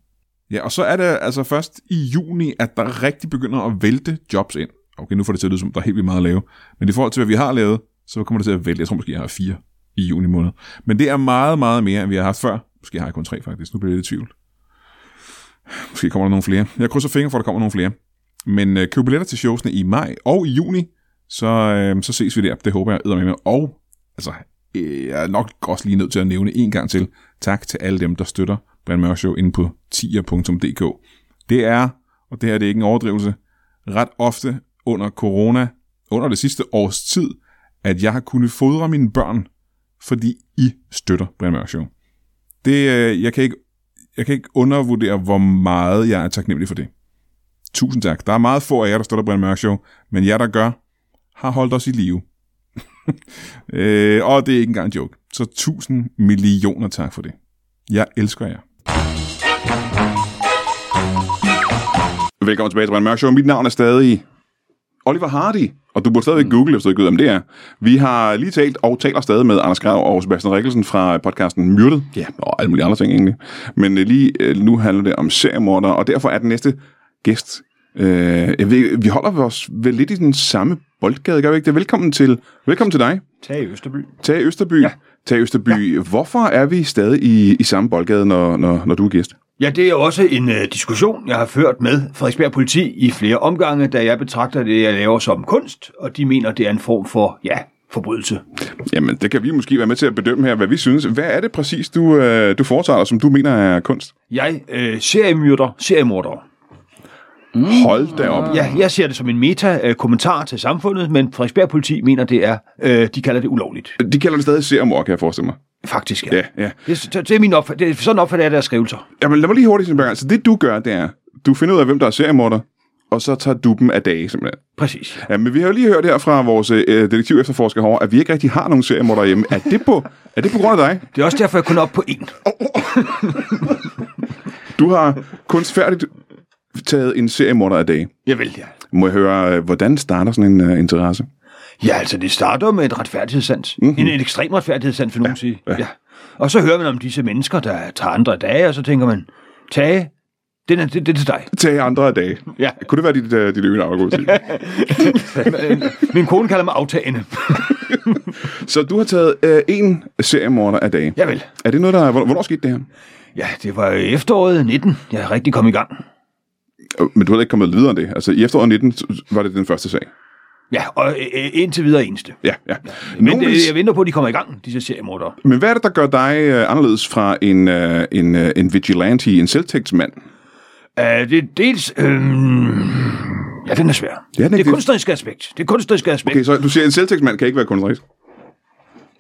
A: Ja, og så er det altså først i juni, at der rigtig begynder at vælte jobs ind. Okay, nu får det til at lyde som, der er helt vildt meget at lave. Men i forhold til, hvad vi har lavet, så kommer det til at vælte. Jeg tror måske, jeg har fire i juni måned. Men det er meget, meget mere, end vi har haft før. Måske har jeg kun tre faktisk. Nu bliver jeg lidt i tvivl. Måske kommer der nogle flere. Jeg krydser fingre for, at der kommer nogle flere. Men øh, køb billetter til showsene i maj og i juni, så, øh, så ses vi der. Det håber jeg æder med. Og altså, øh, jeg er nok også lige nødt til at nævne en gang til. Tak til alle dem, der støtter Brian Mørk Show inde på tier.dk. Det er, og det her det er ikke en overdrivelse, ret ofte under corona, under det sidste års tid, at jeg har kunnet fodre mine børn, fordi I støtter Brian Mørk Show. Det, øh, jeg, kan ikke, jeg kan ikke undervurdere, hvor meget jeg er taknemmelig for det. Tusind tak. Der er meget få af jer, der støtter Brian Mørk Show, men jer, der gør, har holdt os i live. øh, og det er ikke engang en joke. Så tusind millioner tak for det. Jeg elsker jer.
D: Velkommen tilbage til Brian Mørk Show. Mit navn er stadig Oliver Hardy, og du burde stadig mm. google, hvis du ikke ved, om det er. Vi har lige talt og taler stadig med Anders Grav og Sebastian Rikkelsen fra podcasten Myrdet. Ja, og alle mulige andre ting egentlig. Men øh, lige øh, nu handler det om seriemordere, og derfor er den næste gæst. Øh, jeg ved, vi holder os vel lidt i den samme boldgade, gør vi ikke det? Velkommen til, velkommen til dig.
C: Tag i Østerby.
D: Tage Østerby. Ja. Tage Østerby. Ja. Hvorfor er vi stadig i, i samme boldgade, når, når, når du er gæst?
E: Ja, det er også en øh, diskussion, jeg har ført med Frederiksberg Politi i flere omgange, da jeg betragter det, jeg laver som kunst, og de mener, det er en form for, ja, forbrydelse.
D: Jamen, det kan vi måske være med til at bedømme her, hvad vi synes. Hvad er det præcis, du, øh, du foretager dig, som du mener er kunst?
E: Jeg øh, seriemyrder seriemordere.
A: Hold da op.
E: Ja, jeg ser det som en meta-kommentar til samfundet, men Frederiksberg Politi mener, det er, øh, de kalder det ulovligt.
A: De kalder det stadig serum kan jeg forestille mig.
E: Faktisk,
A: Ja, ja.
E: Det, det, det er min opfatt- det, er- sådan opfatter jeg deres skrivelser.
A: Jamen, lad mig lige hurtigt simpelthen. Så det, du gør, det er, du finder ud af, hvem der er seriemorder, og så tager du dem af dage, simpelthen.
E: Præcis.
A: Ja, men vi har jo lige hørt her fra vores øh, detektiv efterforsker herovre, at vi ikke rigtig har nogen seriemorder hjemme. Er det på, er det på grund af dig?
E: Det er også derfor, jeg kun er op på en.
A: Du har kunstfærdigt taget en seriemorder af dage.
E: Jeg vil, ja.
A: Må jeg høre, øh, hvordan starter sådan en uh, interesse?
E: Ja, altså, det starter med et retfærdighedssans.
A: Mhm.
E: Mm-hmm. En, en ekstrem retfærdighedssans, vil nogen ja, sige. Ja. Og så hører man om disse mennesker, der tager andre dage, og så tænker man, Tage, den er, det, det er til dig.
A: Tag andre af dage.
E: Ja.
A: Kunne det være dit, uh, dit øgende afgåelse?
E: Min kone kalder mig aftagende.
A: Så du har taget øh, en seriemorder af dage.
E: Jeg vil.
A: Er det noget, der... Hvornår, hvornår skete det her?
E: Ja, det var i efteråret 19. Jeg er rigtig kommet i gang.
A: Øh, Men du har ikke kommet videre end det. Altså, i efteråret 19 så- var det den første sag.
E: Ja, og øh, øh, indtil videre eneste.
A: Ja, ja.
E: Men
A: Nogen,
E: det,
A: vil s-
E: jeg venter på, at de kommer i gang, disse seriemordere.
A: Men hvad er det, der gør dig øh, anderledes fra en, øh, en, øh, en vigilante, en selvtægtsmand?
E: Uh, det er dels... Øh, ja, den er svær.
A: Ja, den er-
E: det er kunstneriske aspekt. Det er kunstneriske aspekt.
A: Okay, så du siger, at en selvtægtsmand kan ikke være kunstnerisk.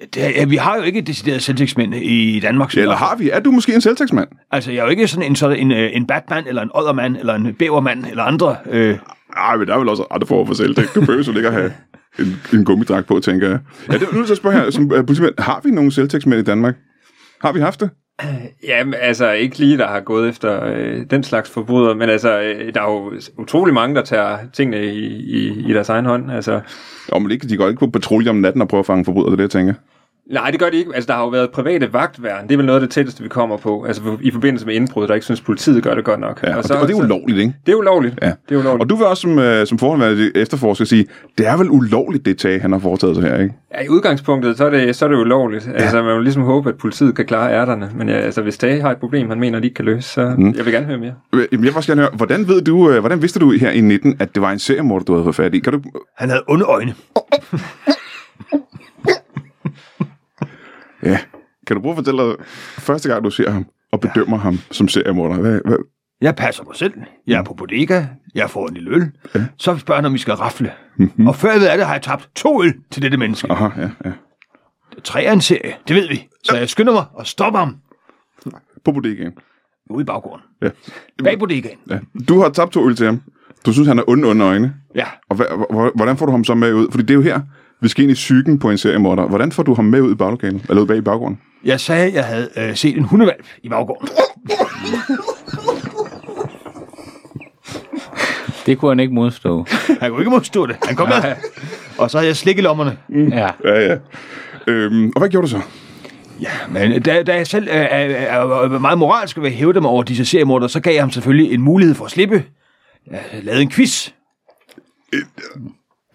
E: Det, ja, vi har jo ikke decideret selvtægtsmænd i Danmark. som
A: Eller
E: jeg-
A: har vi? Er du måske en selvtægtsmand?
E: Altså, jeg er jo ikke sådan en, sådan en, øh, en Batman, eller en Oddermand, eller en Bævermand, eller andre. Øh,
A: Nej, men der er vel også andre former for selvtægt. Du behøver jo ikke at have en, en gummidragt på, tænker jeg. Ja, det er nu, så spørger jeg som øh, politimand, har vi nogen selvtægtsmænd i Danmark? Har vi haft det?
C: Jamen, altså ikke lige, der har gået efter øh, den slags forbryder, men altså, øh, der er jo utrolig mange, der tager tingene i, i, i deres egen hånd. Altså,
A: Jo, men ikke, de går ikke på patrulje om natten og prøver at fange forbrydere, det er det, jeg tænker.
C: nej, det gør de ikke. Altså, der har jo været private vagtværn. Det er vel noget af det tætteste, vi kommer på. Altså, i forbindelse med indbrud, der ikke synes, politiet gør det godt nok.
A: Ja, og, så, det, og det er ulovligt, ikke?
C: Det er ulovligt.
A: Ja.
C: Det er ulovligt.
A: Og du vil også som, øh, som forhåndværende efterforsker sige, det er vel ulovligt, det tag, han har foretaget sig her, ikke?
C: Ja, i udgangspunktet, så er det, så er det ulovligt. Ja. Altså, man vil ligesom håbe, at politiet kan klare ærterne. Men ja, altså, hvis Tage har et problem, han mener, de ikke kan løse, så mm. jeg vil gerne høre mere.
A: Øh, Jamen, jeg vil også gerne høre, hvordan, ved du, øh, hvordan vidste du her i 19, at det var en seriemorder, du havde fået fat i? Kan du,
E: han havde onde øjne.
A: ja, kan du prøve at fortælle dig, første gang du ser ham og bedømmer ja. ham som seriemorder, hvad, hvad,
E: Jeg passer mig selv. Jeg er på bodega. Jeg får en lille øl. Så spørger han, om vi skal rafle. Og før jeg ved af det, har jeg tabt to øl til dette menneske.
A: aha, Mhm. ja, ja.
E: Tre er en serie, det ved vi. Så jeg skynder mig og stopper ham
A: På bodegaen.
E: ude i baggården.
A: Ja.
E: Bag bodegaen.
A: ja. Du har tabt to øl til ham. Du synes, han er onde, onde øjne.
E: Ja.
A: Og hva, hva- hvordan får du ham så med ud? Fordi det er jo her, vi skal ind i psyken på en seriemorder. Hvordan får du ham med ud i baglokalet? Eller ud bag i baggrunden?
E: Jeg sagde, at jeg havde øh, set en hundevalp i baggården.
B: Det kunne han ikke modstå.
E: Han kunne ikke modstå det. Han kom med. Og så havde jeg slik i lommerne.
B: ja.
A: Ja, ja. Øhm, og hvad gjorde du så?
E: Ja, men da, da jeg selv øh, er, er, er meget moralsk ved at hæve dem over disse seriemorder, så gav jeg ham selvfølgelig en mulighed for at slippe. Jeg lavede en quiz.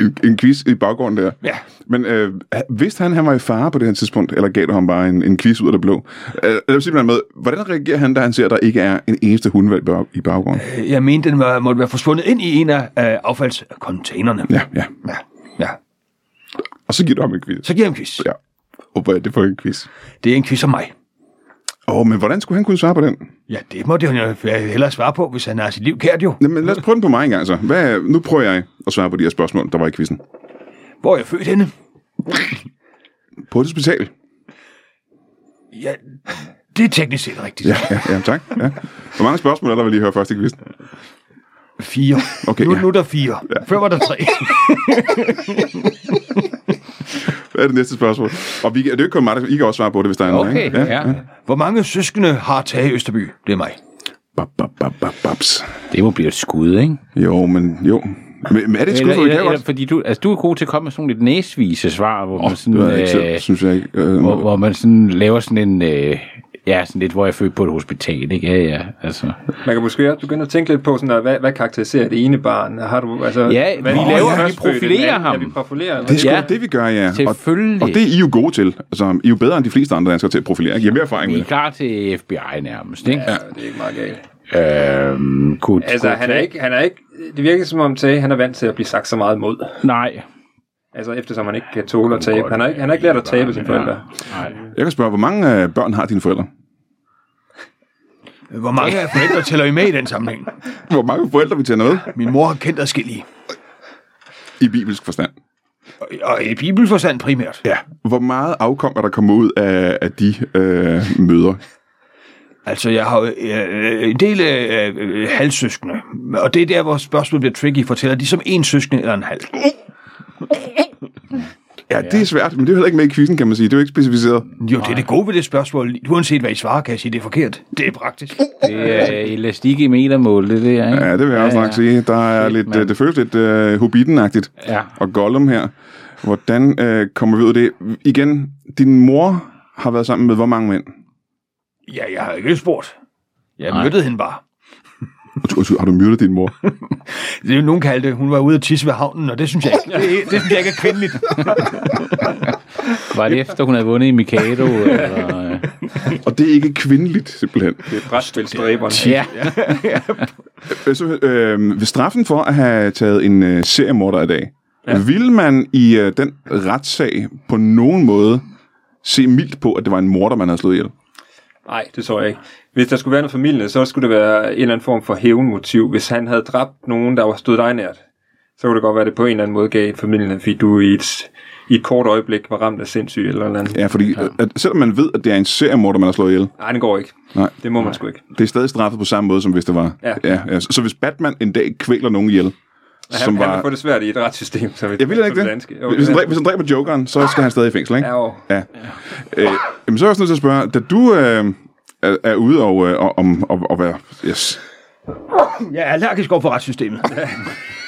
A: En, en quiz i baggården der.
E: Ja.
A: Men øh, vidste han, han var i fare på det her tidspunkt, eller gav du ham bare en, en quiz ud af det blå? Øh, lad mig simpelthen med, hvordan reagerer han, da han ser, at der ikke er en eneste hundvalg bag- i baggården?
E: Øh, Jeg mente, den var, måtte være forsvundet ind i en af øh, affaldscontainerne.
A: Ja, ja.
E: ja. ja.
A: Og så giver du ham en quiz.
E: Så giver jeg en quiz.
A: Ja. Og hvad er det for en quiz?
E: Det er en quiz om mig.
A: Åh, oh, men hvordan skulle han kunne svare på den?
E: Ja, det måtte han jo hellere svare på, hvis han har sit liv kært jo.
A: Jamen, lad os prøve den på mig engang så. Hvad, nu prøver jeg at svare på de her spørgsmål, der var i quizzen.
E: Hvor er jeg født henne?
A: På et hospital.
E: Ja, det er teknisk set rigtigt.
A: Ja, ja, ja tak. Ja. Hvor mange spørgsmål er der, vi lige hører først i quizzen?
E: Fire.
A: Okay,
E: nu,
A: ja.
E: nu er der fire. Ja. Før var der tre.
A: Hvad er det næste spørgsmål? Og vi, det er jo ikke kun mig, der, I kan også svare på det, hvis der er nogen.
B: Okay,
A: ikke?
B: ja.
E: Hvor mange søskende har Tage i Østerby? Det er mig.
A: Bap, bap, bap, bap, baps.
B: Det må blive et skud, ikke?
A: Jo, men jo. Men, men er det et skud,
B: Eller,
A: for vi
B: eller,
A: kan
B: eller,
A: godt?
B: fordi du, altså, du er god til at komme med sådan lidt næsvise svar, hvor man sådan,
A: Det ved jeg ikke selv,
B: øh,
A: synes jeg ikke. Øh,
B: hvor, hvor man sådan laver sådan en, øh, ja, sådan lidt, hvor jeg er født på et hospital, ikke? Ja, ja, altså.
C: Man kan måske også begynde at tænke lidt på, sådan, at hvad, hvad karakteriserer det ene barn? Har du, altså,
B: Ja,
C: hvad,
B: vi laver- vi
C: førstfødte, den
B: profilerer
C: anden?
B: ham.
C: Ja, vi profilerer
A: det er sgu
B: Ja,
A: ja, det, vi gør, ja. Og-
B: selvfølgelig.
A: Og, det er I jo gode til. Altså, I er jo bedre end de fleste andre danskere til at profilere. ikke? I har mere erfaring med
B: Vi er
A: det.
B: klar til FBI nærmest, ikke?
C: Ja, det er ikke meget galt.
B: Ja. Øhm, kunne,
C: Altså,
B: kunne-
C: han er ikke, han er ikke, det virker som om Tage, han er vant til at blive sagt så meget mod.
B: Nej.
C: Altså, eftersom han ikke kan tåle at tabe. Han har ikke, han har ikke lært at tabe sine forældre.
B: Nej.
A: Jeg kan spørge, hvor mange øh, børn har dine forældre?
E: Hvor mange af forældre tæller I med i den sammenhæng?
A: Hvor mange forældre vi tænder med
E: Min mor har kendt adskillige.
A: i bibelsk forstand.
E: Og, og i bibelforstand primært.
A: Ja. Hvor meget afkom er der kommet ud af, af de øh, møder?
E: Altså, jeg har jo, øh, en del øh, øh, halvsøskende, og det er der, hvor spørgsmålet bliver tricky. Fortæller de som en søskende eller en halv?
A: Ja, ja, Mm. det er svært, men det er jo heller ikke med i quizzen, kan man sige. Det er jo ikke specificeret.
E: Jo, det er det gode ved det spørgsmål. Uanset hvad I svarer, kan jeg sige, det er forkert. Det er praktisk.
B: Det er elastik i metermål, det der, ikke?
A: Ja, det vil jeg også nok sige. Der er lidt,
B: mand.
A: øh, det føles lidt øh, Hobbiten-agtigt.
B: Ja.
A: Og Gollum her. Hvordan øh, kommer vi ud af det? Igen, din mor har været sammen med hvor mange mænd?
E: Ja, jeg har ikke spurgt. Jeg mødte hende bare.
A: Undskyld, undskyld, Har du myrdet din mor?
E: Det er jo, nogen kaldte, hun var ude at tisse ved havnen, og det synes jeg ikke, det, det synes jeg ikke er kvindeligt.
B: Var det efter, hun havde vundet i Mikado? Eller, øh?
A: Og det er ikke kvindeligt, simpelthen.
C: Det er brætspilstræberne.
B: ja.
A: Øh, Så, øh, ved straffen for at have taget en øh, seriemorder i dag, ja. ville man i øh, den retssag på nogen måde se mildt på, at det var en morder, man havde slået ihjel?
C: Nej, det tror jeg ikke. Hvis der skulle være noget familie, så skulle det være en eller anden form for hævnmotiv. Hvis han havde dræbt nogen, der var stod dig nært, så kunne det godt være, at det på en eller anden måde gav familien, fordi du i et, i et kort øjeblik var ramt af sindssyg eller noget andet.
A: Ja, fordi ja. At, selvom man ved, at det er en seriemorder, man har slået ihjel,
C: Nej, det går ikke.
A: Nej.
C: Det må man sgu ikke.
A: det er stadig straffet på samme måde, som hvis det var.
C: Ja.
A: Ja, ja. Så, så hvis Batman en dag kvæler nogen ihjel,
C: Han,
A: som
C: han
A: var...
C: vil få det svært i et retssystem. Så
A: Jeg vil heller ikke det.
C: Danske. Jo,
A: Hvis han,
C: ja.
A: dræber, hvis han dræber Jokeren, så skal han stadig i fængsel, ikke?
C: Ja, jo.
A: Ja. Øh, jamen, så er jeg også nødt til at spørge, da du øh, er, er ude og, øh, og, om, og, og være yes,
E: Jeg er allergisk over for retssystemet.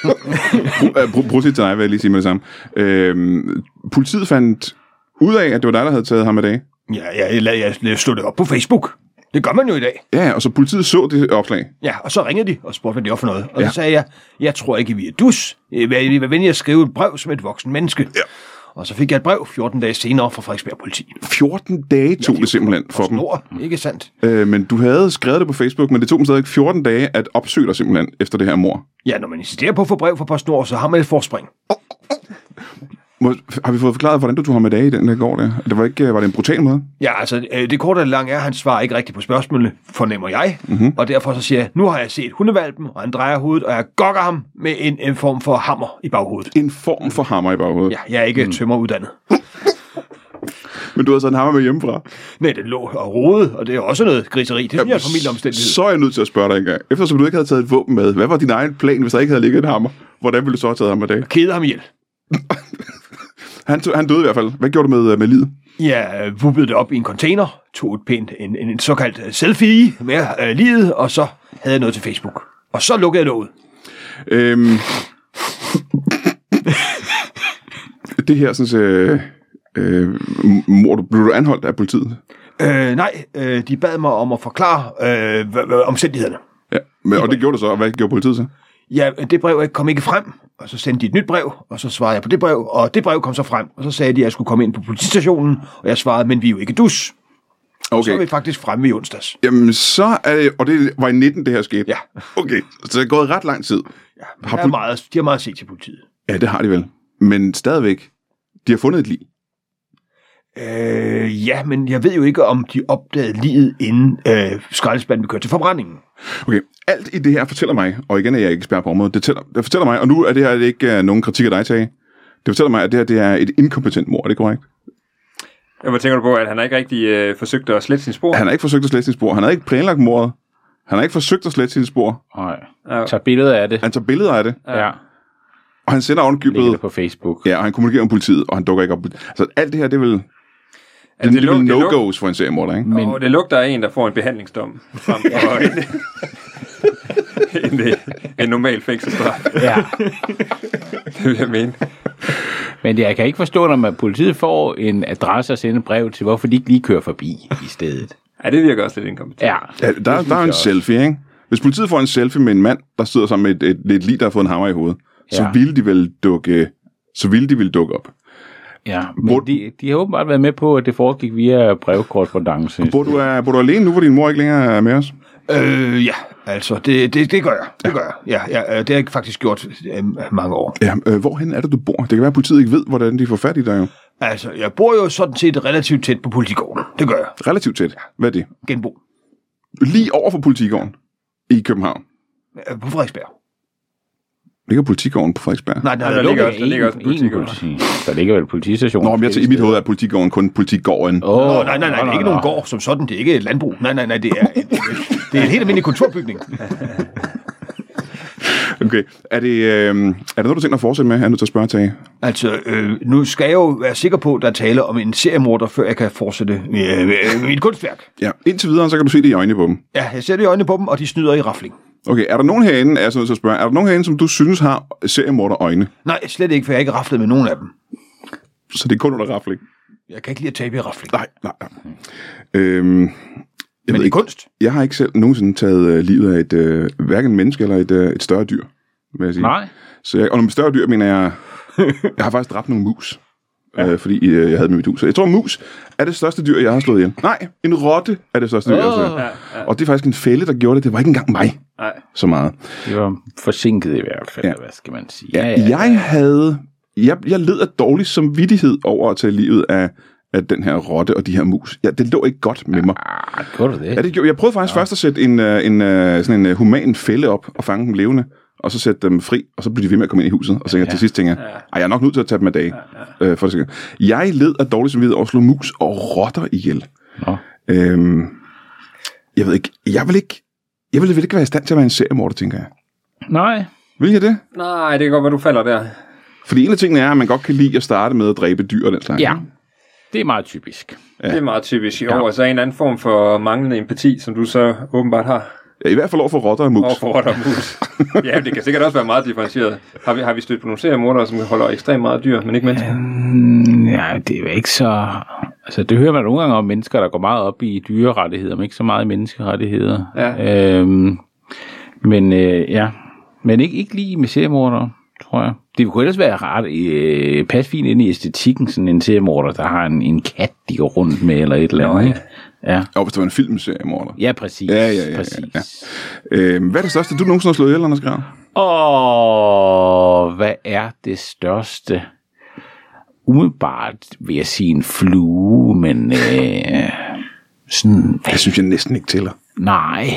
A: Øh, Brug brug til dig, vil jeg lige sige med det samme. Øhm, politiet fandt ud af, at det var dig, der havde taget ham i dag.
E: Ja, jeg, jeg, jeg, jeg slog det op på Facebook. Det gør man jo i dag.
A: Ja, og så politiet så det opslag.
E: Ja, og så ringede de og spurgte, hvad det var for noget. Og ja.
A: Ja.
E: så sagde jeg, jeg tror ikke, vi er dus. Øh, Vær vær venlig at skrive et brev som et voksen menneske. Ja. Og så fik jeg et brev 14 dage senere fra Frederiksberg Politi.
A: 14 dage tog det simpelthen for dem.
E: Snor, ikke sandt?
A: Øh, men du havde skrevet det på Facebook, men det tog dem stadig 14 dage at opsøge dig simpelthen efter det her mor.
E: Ja, når man insisterer på at få brev fra PostNord, så har man et forspring.
A: Må, har vi fået forklaret, hvordan du tog ham i dag i den der går der? Det var, ikke, øh, var det en brutal måde?
E: Ja, altså, øh, det korte og det lange er, at han svarer ikke rigtigt på spørgsmålene, fornemmer jeg. Mm-hmm. Og derfor så siger jeg, nu har jeg set hundevalpen, og han drejer hovedet, og jeg gokker ham med en, en form for hammer i baghovedet.
A: En form for hammer i baghovedet.
E: Ja, jeg er ikke mm. tømmeruddannet.
A: Men du havde så en hammer med hjemmefra.
E: Nej, den lå og rode, og det er også noget griseri. Det synes jeg er en familieomstændighed.
A: Så er jeg nødt til at spørge dig engang. Eftersom du ikke havde taget et våben med, hvad var din egen plan, hvis der ikke havde ligget en hammer? Hvordan ville du så have taget ham i dag?
E: Kede ham ihjel.
A: Han, tog, han døde i hvert fald. Hvad gjorde du med, øh, med livet?
E: Jeg øh, vuppede det op i en container, tog et pænt, en, en, en såkaldt øh, selfie med øh, livet, og så havde jeg noget til Facebook. Og så lukkede jeg låget.
A: Øhm, det her, sådan, øh, øh, mor, du, blev du anholdt af politiet?
E: Øh, nej, øh, de bad mig om at forklare øh, hva- hva- omstændighedighederne.
A: Ja, men, og det gjorde du så, og hvad gjorde politiet så?
E: Ja, det brev kom ikke frem, og så sendte de et nyt brev, og så svarede jeg på det brev, og det brev kom så frem, og så sagde de, at jeg skulle komme ind på politistationen, og jeg svarede, men vi er jo ikke dus. Så er vi
A: Okay,
E: faktisk fremme i onsdags.
A: jamen så er det, og det var i 19, det her skete?
E: Ja.
A: Okay, så det er gået ret lang tid.
E: Ja,
A: Har
E: har
A: poli-
E: er meget, de har meget set til politiet.
A: Ja, det har de vel. Men stadigvæk, de har fundet et lig.
E: Øh, ja, men jeg ved jo ikke, om de opdagede livet, inden øh, skraldespanden blev kørt til forbrændingen.
A: Okay, alt i det her fortæller mig, og igen er jeg ikke ekspert på området, det, tæller, det fortæller mig, og nu er det her ikke uh, nogen kritik af dig, Tage. Det fortæller mig, at det her det er et inkompetent mor, er det korrekt?
C: Ja, Hvad tænker du på, at han har ikke rigtig øh, forsøgt at slette sine spor?
A: Han har ikke forsøgt at slette sine spor. Han har ikke planlagt mordet. Han har ikke forsøgt at slette sine spor.
B: Nej.
C: Ja.
B: Tag billeder af det.
A: Han tager billeder af det,
B: Ja.
A: og han sender
B: Lægger det
A: ovenkøbet.
B: på Facebook.
A: Ja, og han kommunikerer med politiet, og han dukker ikke op. Altså, alt det her, det er vel, det, det
C: Ja,
A: er vel
C: lug- lug-
A: no-goes for en seriemorder, ikke?
C: Men... Og det lugter af en, der får en behandlingsdom, frem for en, en, øh, en normal fængselsstraf,
B: Ja.
C: det vil jeg mene.
B: Men jeg kan ikke forstå, når man politiet får en adresse og sender brev til, hvorfor de ikke lige kører forbi i stedet.
C: Ja, det virker også lidt inkompetent.
B: Ja.
A: Ja, der, der er jo en selfie, ikke? Hvis politiet får en selfie med en mand, der sidder sammen med et, et, et lig, der har fået en hammer i hovedet, ja. så
B: Ja.
A: ville de vel dukke, så ville de vel dukke op.
B: ja. Men
A: Burde-
B: de, de har åbenbart været med på, at det foregik via brevkorrespondence.
A: Bor du, er, bor du alene nu, hvor din mor ikke længere er med os?
E: Øh, ja, altså, det, det, det gør jeg. Det gør jeg. Ja, ja, øh, det har jeg faktisk gjort øh, mange år.
A: Ja, øh, hvorhen er det, du bor? Det kan være, at politiet ikke ved, hvordan de får fat i dig jo.
E: Altså, jeg bor jo sådan set relativt tæt på politigården. Det gør jeg.
A: Relativt tæt. Hvad er det?
E: Genbo.
A: lige over for politigården i København.
E: Øh, På Frederiksberg.
A: Ligger politigården på Frederiksberg?
E: Nej, den
C: Ja,
E: er
C: der ligger
E: lukket.
C: også- der ligger også politi-
B: Der ligger vel politistationen.
A: Nå, men jeg til, i mit hoved er politigården kun politigården. Oh.
B: Åh,
E: Nå, nej, nej, nej, det er ikke nogen gård som sådan. Det er ikke et landbrug. Nej, nej, nej, det er en, det er en helt almindelig kontorbygning.
A: Okay. Er det, øh, er det noget, du tænker at fortsætte med? Er jeg nødt til at spørge til?
E: Altså, øh, nu skal jeg jo være sikker på, at der er tale om en seriemorder, før jeg kan fortsætte øh, øh, mit kunstværk.
A: Ja, indtil videre, så kan du se det i øjnene på dem.
E: Ja, jeg ser det i øjnene på dem, og de snyder i rafling.
A: Okay, er der nogen herinde, er jeg så nødt til at spørge, er der nogen herinde, som du synes har seriemorder øjne?
E: Nej, slet ikke, for jeg har ikke raflet med nogen af dem.
A: Så det er kun under rafling.
E: Jeg kan ikke lide at tabe i rafling.
A: Nej, nej, nej. Øhm, jeg,
E: Men
A: ved
E: i
A: ikke,
E: kunst?
A: jeg har ikke selv nogensinde taget øh, livet af et, øh, hverken menneske eller et, øh, et større dyr, vil jeg sige.
B: Nej.
A: Så jeg, og med større dyr mener jeg, jeg har faktisk dræbt nogle mus, ja. øh, fordi øh, jeg havde dem i mit hus. Så jeg tror, mus er det største dyr, jeg har slået ihjel. Nej, en rotte er det største dyr, jeg har slået
B: Åh.
A: ihjel. Og det er faktisk en fælde, der gjorde det. Det var ikke engang mig
C: Nej.
A: så meget.
B: Det var forsinket i hvert fald,
A: Ja.
B: ja. hvad skal man sige.
A: Ja, ja. Jeg havde... Jeg, jeg led af dårlig samvittighed over at tage livet af, af den her rotte og de her mus. Ja, det lå ikke godt med mig.
B: Ah, gjorde du det?
A: Ja, det gjorde, jeg prøvede faktisk ja. først at sætte en, øh, en, øh, sådan en øh, human fælde op og fange dem levende, og så sætte dem fri, og så blev de ved med at komme ind i huset. Og så ja. til sidst tænker jeg, "Ej, jeg er nok nødt til at tage dem af dage. Ja, ja. Øh, for det sikkert. Jeg led af dårlig samvittighed over at slå mus og rotter ihjel.
B: Nå.
A: Øhm, jeg ved ikke, jeg vil ikke, jeg vil, vil ikke være i stand til at være en seriemorder, tænker jeg.
B: Nej.
A: Vil jeg det?
C: Nej, det kan godt være, du falder der.
A: Fordi en af tingene er, at man godt kan lide at starte med at dræbe dyr og den slags.
B: Ja. Det er meget typisk.
C: Ja. Det er meget typisk. Jo, og så en eller anden form for manglende empati, som du så åbenbart har
A: Ja, I hvert fald over for rotter og mus.
C: over for rotter og mus. ja, det kan sikkert også være meget differentieret. Har vi, har vi stødt på nogle seriemordere, som holder ekstremt meget dyr, men ikke mennesker?
B: Mm, ja, det er jo ikke så... Altså, det hører man nogle gange om mennesker, der går meget op i dyrerettigheder, men ikke så meget i menneskerettigheder.
C: Ja.
B: Øhm, men øh, ja, men ikke, ikke lige med seriemordere, tror jeg. Det kunne ellers være ret øh, pas fint ind i æstetikken, sådan en seriemorder, der har en, en kat, de går rundt med, eller et eller andet.
C: ja.
B: ikke? Ja.
A: Jo, hvis det var en filmserie, morder.
B: ja, præcis.
A: Ja, ja, ja, ja,
B: præcis.
A: ja. Øhm, hvad er det største, du nogensinde har slået ihjel, Anders Grav?
B: Og hvad er det største? Umiddelbart vil jeg sige en flue, men øh, sådan,
A: Det synes jeg næsten ikke tæller.
B: nej.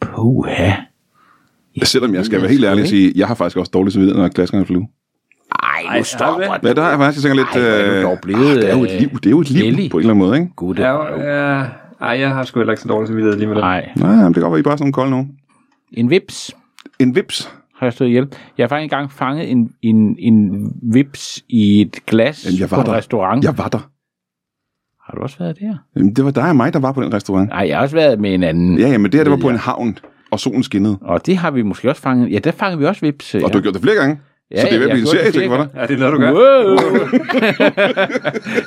B: Puha.
A: Selvom jeg skal være helt ærlig og sige, jeg har faktisk også dårlig samvittighed, når jeg klasker en flue.
B: Ej, nu stopper
A: Ja, der har jeg faktisk, jeg tænker lidt...
B: Ej, hvor er
A: øh,
B: du dog blevet...
A: det er jo et liv, det er jo et liv
B: heldig.
A: på en eller anden måde, ikke?
B: Gud,
C: Ja,
B: ja,
C: ja. Ej, jeg har sgu heller ikke så dårligt samvittighed lige med det.
B: Nej,
A: Nej, men det kan godt være, I er bare sådan nogle kolde nogen.
B: en vips
A: En vips.
B: har jeg stået ihjel. Jeg har faktisk engang fanget en, en, en vips i et glas
A: Jamen, jeg var
B: på en
A: der.
B: restaurant.
A: Jeg var der.
B: Har du også været der?
A: Jamen, det var dig og mig, der var på den restaurant.
B: Nej, jeg har også været med en anden.
A: Ja, ja, men det her, det var på en havn, og solen skinnede.
B: Og det har vi måske også fanget. Ja, der fangede vi også vips.
A: Og du har gjort det flere gange. Så det er ved at blive en serieting for dig.
C: Ja, det er noget, du gør.
B: Wow.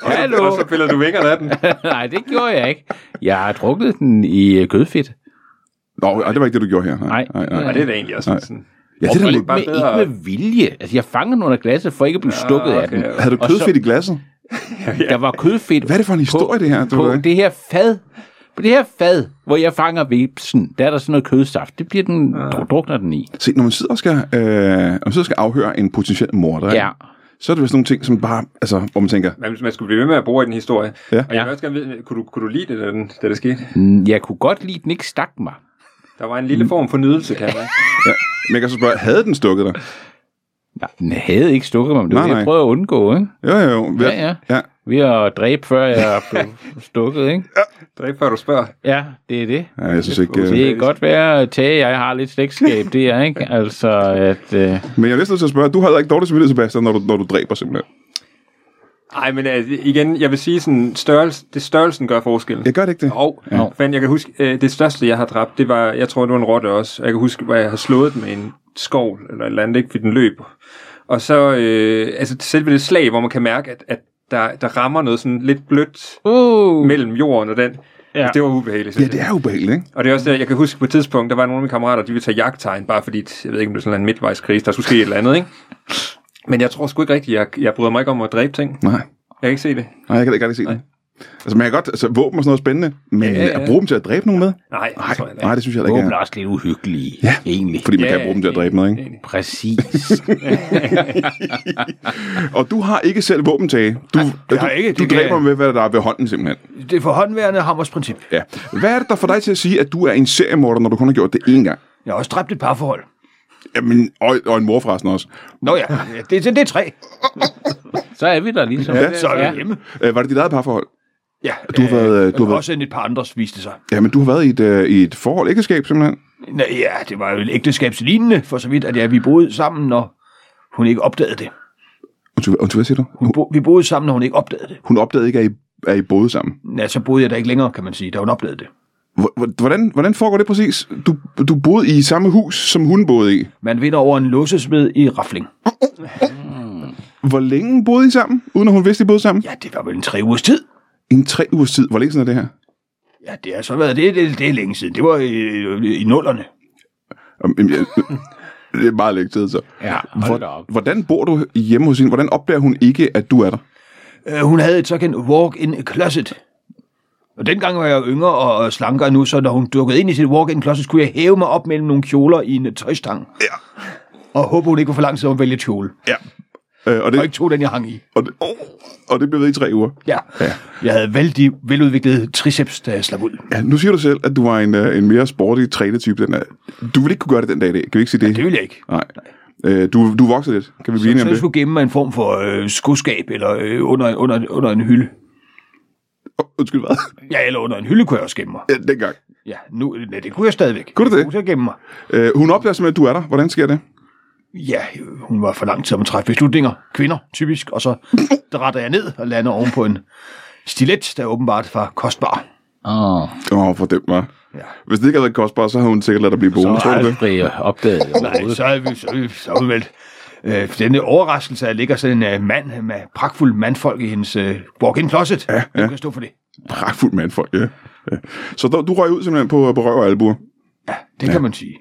B: Hallo.
C: Og så piller du vingerne af den.
B: Nej, det gjorde jeg ikke. Jeg har drukket den i øh, kødfedt.
A: Nå, ej, det var ikke det, du gjorde her.
B: Nej.
A: nej, nej.
C: Ja, det er da egentlig også sådan.
A: Ja, det
B: Og
A: der,
B: ikke,
C: bare
B: med,
C: bedre. Ah,
B: ikke med vilje. Altså, jeg fangede den under glasset for ikke at blive stukket af den.
C: okay.
A: havde du
B: Og så-
A: kødfedt i glasset?
B: Der var kødfedt
A: Hvad er det for en historie, det her? Du ved
B: på
A: ikke?
B: det her fad. På det her fad, hvor jeg fanger vipsen, der er der sådan noget kødsaft. Det bliver den,
C: Ah.
B: drukner den i.
A: Se, når man sidder og skal, øh, når man sidder og skal afhøre en potentiel morder, ikke?
B: Ja.
A: så er det vist nogle ting, som bare, altså, hvor man tænker,
C: Man, man skulle blive ved med at bruge i den historie.
A: Ja.
C: Og jeg vil også gerne vide, kunne du, kunne du lide det, da, den, da det skete?
B: Mm, Jeg kunne godt lide, at den ikke stak mig.
C: Der var en
A: Mm.
C: lille form for nydelse, kan jeg mærke.
A: men jeg kan så spørge, havde den stukket dig?
B: Nej, den havde ikke stukket mig, men det
A: Nej,
B: var det,
A: nej.
B: jeg prøvede at undgå, ikke?
A: Jo, jo, jo.
B: Ja, ja.
A: ja.
B: Ved at dræbe, før jeg blev stukket, ikke?
C: Dræb før du spørger.
B: Ja, det er det.
A: ja jeg synes ikke, øh,
B: Det kan godt være, at Tage og jeg har lidt slægtskab der, ikke? Altså, at...
A: men
B: Øh,
A: jeg er næsten nødt til at spørge, du har heller ikke dårlig samvittighed, Sebastian, når du, når du dræber simpelthen.
C: Nej, men altså, igen, jeg vil sige sådan, størrelse, det størrelsen gør forskellen.
A: Jeg gør det ikke det.
C: Og, ja. fandt, jeg kan huske, øh, det største, jeg har dræbt, det var, jeg tror, det var en rotte også. Jeg kan huske, hvor jeg har slået den med en skov, eller et eller andet, ikke, fordi den løb. Og så, øh, altså selve det slag, hvor man kan mærke, at, at der, der rammer noget sådan lidt blødt
B: uh,
C: mellem jorden og den. Ja. Altså, det var ubehageligt. synes
A: Ja,
C: jeg.
A: det er jo ubehageligt, ikke?
C: Og det er også der, jeg kan huske på et tidspunkt, der var nogle af mine kammerater, de ville tage jagttegn, bare fordi, jeg ved ikke, om det var sådan en midtvejskrise, der skulle ske et eller andet, ikke? Men jeg tror sgu ikke rigtigt, jeg, jeg bryder mig ikke om at dræbe ting.
A: Nej,
C: Jeg kan ikke se det.
A: nej jeg kan da ikke rigtig se det. Altså, man kan godt, altså, våben og sådan noget spændende, men ja,
C: Ja,
A: ja.
C: ja.
A: at bruge dem til at dræbe nogen med?
C: Nej, det tror
A: Nej,
C: jeg heller ikke.
A: nej, det synes jeg heller
B: Våben
A: ikke.
B: er
A: Er.
B: også lidt uhyggelige, ja. egentlig.
A: Fordi man
C: Ja,
A: kan bruge dem til at
C: ja,
A: dræbe noget, ikke?
C: enig.
B: Præcis.
A: Og du har ikke selv våbentage. Du,
E: jeg
A: du,
E: har ikke.
A: du
E: Det kan
A: dræber
E: jeg-
A: med, hvad der er ved hånden, simpelthen.
E: Det er for håndværende hammers princip.
A: Ja. Hvad er det, der får dig til at sige, at du er en seriemorder, når du kun har gjort det én gang?
E: Jeg har også dræbt et parforhold.
A: Jamen, og, og en mor forresten også.
E: Nå ja, ja, det, det, det er tre.
B: Så er vi der ligesom.
A: Ja,
E: Så er vi hjemme.
A: Øh, var det dit eget parforhold?
E: Ja,
A: Du har været, øh, du har
E: har
A: været-
E: også en et par andres, viste det sig.
A: Jamen, du har været i et, øh, i et forhold, ægteskab simpelthen.
E: Nå, ja, det var jo et ægteskabslignende, for så vidt, at ja, vi boede sammen, når hun ikke opdagede det.
A: Undskyld, undskyld, hvad siger du?
E: Hun bo, vi boede sammen, når hun ikke opdagede det.
A: Hun opdagede ikke, at I, at I boede sammen.
E: Ja, så boede jeg der ikke længere, kan man sige, da hun opdagede det.
A: Hvor- hvor- Hvordan, hvordan foregår det præcis? Du, du boede i samme hus, som hun boede i.
E: Man vinder over en låsesmed i rafling.
A: Hvor længe boede I sammen, uden at hun vidste, I boede sammen?
E: Ja, det var vel en tre ugers tid.
A: En tre ugers tid. Hvor længe siden er det her?
E: Ja, det har så været det, det, det er længe siden. Det var i, i nullerne.
A: Jamen, jeg, det er meget længe tid, så.
B: Ja, hold da op.
A: Hvor, hvordan bor du hjemme hos hende? Hvordan opdager hun ikke, at du er der?
E: Øh, hun havde et såkaldt walk-in closet. Og dengang var jeg yngre og og slankere nu, så når hun dukkede ind i sit walk-in closet, kunne jeg hæve mig op mellem nogle kjoler i en øh, tøjstang.
A: Ja.
E: Og håbe, hun ikke var for lang tid om at vælge kjole.
A: Ja. Øh, og,
E: Og
A: det,
E: ikke tog den, jeg hang i.
A: og, det, oh, og det blev ved i tre uger.
E: Ja. ja. Jeg havde vældig veludviklet triceps, da jeg slap ud.
A: Ja, nu siger du selv, at du var en, øh, en mere sporty trænetype. Den er. Du ville ikke kunne gøre det den dag i dag. Kan vi ikke sige det?
E: Det ville jeg ikke.
A: Nej. Øh, du, du voksede lidt. Kan vi blive enige
E: Så
A: om
E: jeg
A: det?
E: skulle gemme mig i en form for øh, skoskab, eller øh, under, under, under en hylde.
A: Oh, undskyld, hvad?
E: Ja, eller under en hylde kunne jeg også gemme mig.
A: Ja, dengang.
E: Ja, nu, nej, det kunne jeg stadigvæk.
A: Kunne du det?
E: Jeg kunne jeg gemme mig.
A: Øh, hun opdager simpelthen, at du er der. Hvordan sker det?
E: Ja, øh, hun var for lang tid om at træffe beslutninger. Kvinder, typisk. Og så retter jeg ned og lander oven på en stilet, der åbenbart var kostbar.
B: Åh,
A: Åh, oh, for dem var.
E: Ja.
A: Hvis det ikke havde været kostbart, så havde hun sikkert ladet dig blive boende,
B: så
A: tror
B: er
A: du det?
B: aldrig opdaget
E: Nej,
B: overhovedet.
E: så er vi, så er vi, så er vi vel. Øh, denne overraskelse, at der ligger sådan en øh, mand med pragtfuld mandfolk i hendes øh, walk-in closet. Ja, ja. kan stå for det.
A: Pragtfuld mandfolk, ja. ja. Så du, du røg ud simpelthen på, på røv og albuer.
E: Ja, det ja. kan man sige.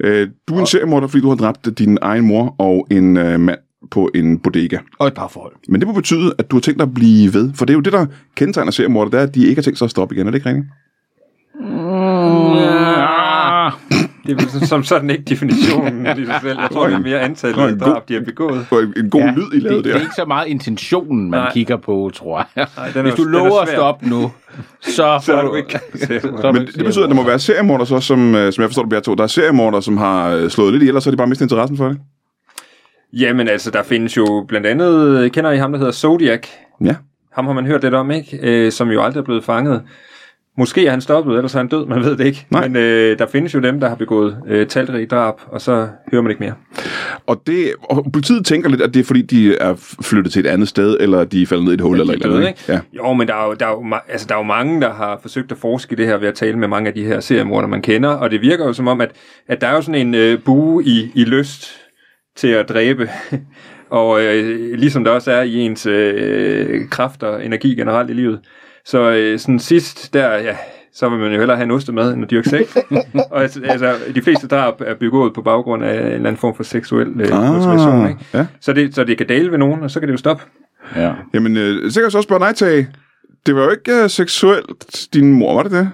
A: Øh, du er en seriemorder, fordi du har dræbt din egen mor og en øh, mand på en bodega.
E: Og et par forhold.
A: Men det må betyde, at du har tænkt dig at blive ved. For det er jo det, der kendetegner seriemorder, det er, at de ikke har tænkt sig at stoppe igen. Er det ikke rigtigt?
B: Ah,
C: Det er vel som- som sådan ikke definitionen i sig selv. Jeg tror, det er mere antallet
A: Det var en
C: af
A: god-
C: drab, de har begået.
A: Det var en- en god ja, lyd, I lavede
B: det, det er
A: der.
B: ikke så meget intentionen, man
C: Nej.
B: kigger på, tror jeg.
C: den er
B: Hvis
C: jo-
B: du
C: den er
B: lover at
C: svær.
B: stoppe nu, så,
C: Så
B: får
C: er du ikke seriemorder.
B: så er du
A: Men
B: ikke
A: det betyder, at der må være seriemorder, så, som, øh, som jeg forstår det, bliver to. Der er seriemorder, som har øh, slået lidt ihjel, og så har de bare mistet interessen for det.
C: Jamen altså, der findes jo blandt andet, kender I ham, der hedder Zodiac?
A: Ja.
C: Ham har man hørt lidt om, ikke? Øh, som jo aldrig er blevet fanget. Måske er han stoppet, ellers er han død, man ved det ikke.
A: Nej.
C: Men øh, der findes jo dem, der har begået øh, talrige drab, og så hører man ikke mere.
A: Og, det, og politiet tænker lidt, at det er fordi, de er flyttet til et andet sted, eller de er faldet ned i et hul, eller et
C: de
A: eller andet.
C: døde,
A: Ikke? Ja.
C: Jo, men der er jo, der, er jo, ma- altså, der er jo mange, der har forsøgt at forske i det her ved at tale med mange af de her seriemorder, man kender, og det virker jo som om, at, at der er jo sådan en øh, bue i, i lyst til at dræbe, og øh, ligesom der også er i ens øh, kraft og energi generelt i livet. Så øh, sådan sidst der, ja, så vil man jo hellere have en ostemad end at dyrke sex. og altså, altså, de fleste drab er begået på baggrund af en eller anden form for seksuel øh, motivation,
A: Ah,
C: ikke?
A: ja.
C: Så, det, så det kan dale ved nogen, og så kan det jo stoppe.
B: Ja.
A: Jamen, øh, sikkert så spørger dig, Tage. Det var jo ikke øh, seksuelt, din mor, var det det?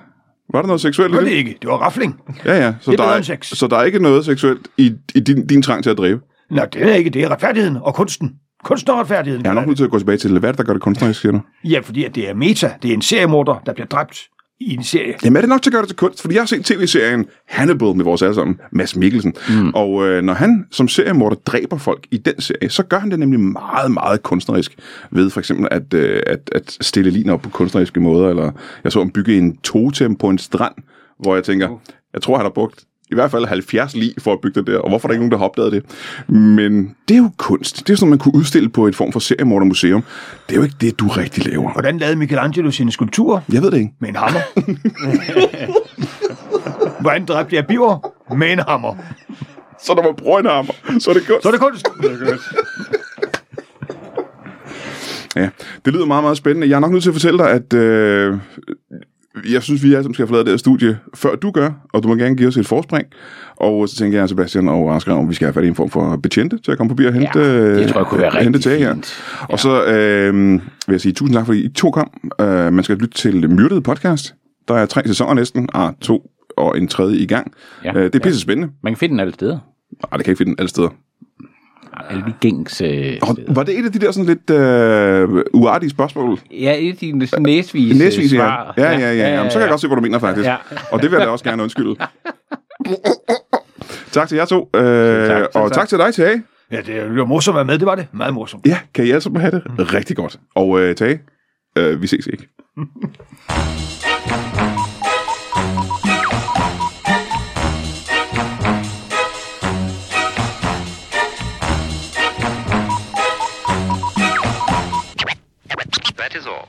A: Var der noget seksuelt
E: Det var
A: i
E: det
A: det?
E: ikke. Det var rafling.
A: Ja, ja. Så,
E: Det
A: der
E: er bedre
A: er,
E: end sex.
A: så der er ikke noget seksuelt i, i din, din trang til at dræbe.
E: Nej, det er ikke. Det er retfærdigheden og kunsten. Kunsten og retfærdigheden.
A: Jeg er nok nødt til at gå tilbage til, hvad er det, der gør det kunstnerisk, siger du?
E: Ja, fordi at det er meta. Det er en seriemorder, der bliver dræbt i en serie.
A: Jamen er det nok til at gøre det til kunst? Fordi jeg har set tv-serien Hannibal med vores alle sammen, Mads Mikkelsen. Mm. Og øh, når han som seriemorder dræber folk i den serie, så gør han det nemlig meget, meget kunstnerisk. Ved for eksempel at, øh, at, at stille lin op på kunstneriske måder. Eller jeg så om bygge en totem på en strand, hvor jeg tænker, jeg tror han har brugt i hvert fald 70 lige for at bygge det der, og hvorfor er der ikke nogen, der har opdaget det? Men det er jo kunst. Det er sådan, man kunne udstille på et form for seriemordermuseum. Det er jo ikke det, du rigtig laver.
E: Hvordan lavede Michelangelo sine skulpturer?
A: Jeg ved det ikke.
E: Med en hammer. Hvordan dræbte jeg biver? Med en hammer.
A: Så der var brøndearmer, så er det kunst.
E: Så er det kunst.
A: Ja, det lyder meget, meget spændende. Jeg er nok nødt til at fortælle dig, at øh, jeg synes, vi alle sammen skal have forladt det her studie, før du gør, og du må gerne give os et forspring. Og så tænker jeg, Sebastian og Asger, om vi skal have fat i en form for betjente til at komme forbi og hente, øh,
B: Ja, det tror jeg kunne være
A: hente
B: rigtig
A: til jer.
B: fint.
A: Og så øh, vil jeg sige tusind tak, fordi I to kom. Øh, man skal lytte til Myrdet podcast. Der er tre sæsoner næsten, ah, to og en tredje i gang.
B: Ja.
A: Ja, øh, det er pisse spændende.
B: Man kan finde den alle steder.
A: Arh, det kan jeg ikke finde alle steder.
B: Alle de gængs øh, steder.
A: Og var det et af de der sådan lidt øh, uartige spørgsmål?
B: Ja, et af dine sådan næsvise,
A: Næsvis, ja. Ja,
B: svar.
A: Øh, ja, ja. ja. Jamen, så kan jeg godt se, hvor du mener faktisk.
B: Ja.
A: Og det vil jeg da også gerne undskylde. tak til jer to. Øh, tak, og tak til dig, Tage.
E: Ja, det var morsomt at være med, det var det. Meget morsomt.
A: Ja, kan I alle sammen have det rigtig godt. Og øh, Tage, øh, vi ses ikke.
F: That is all.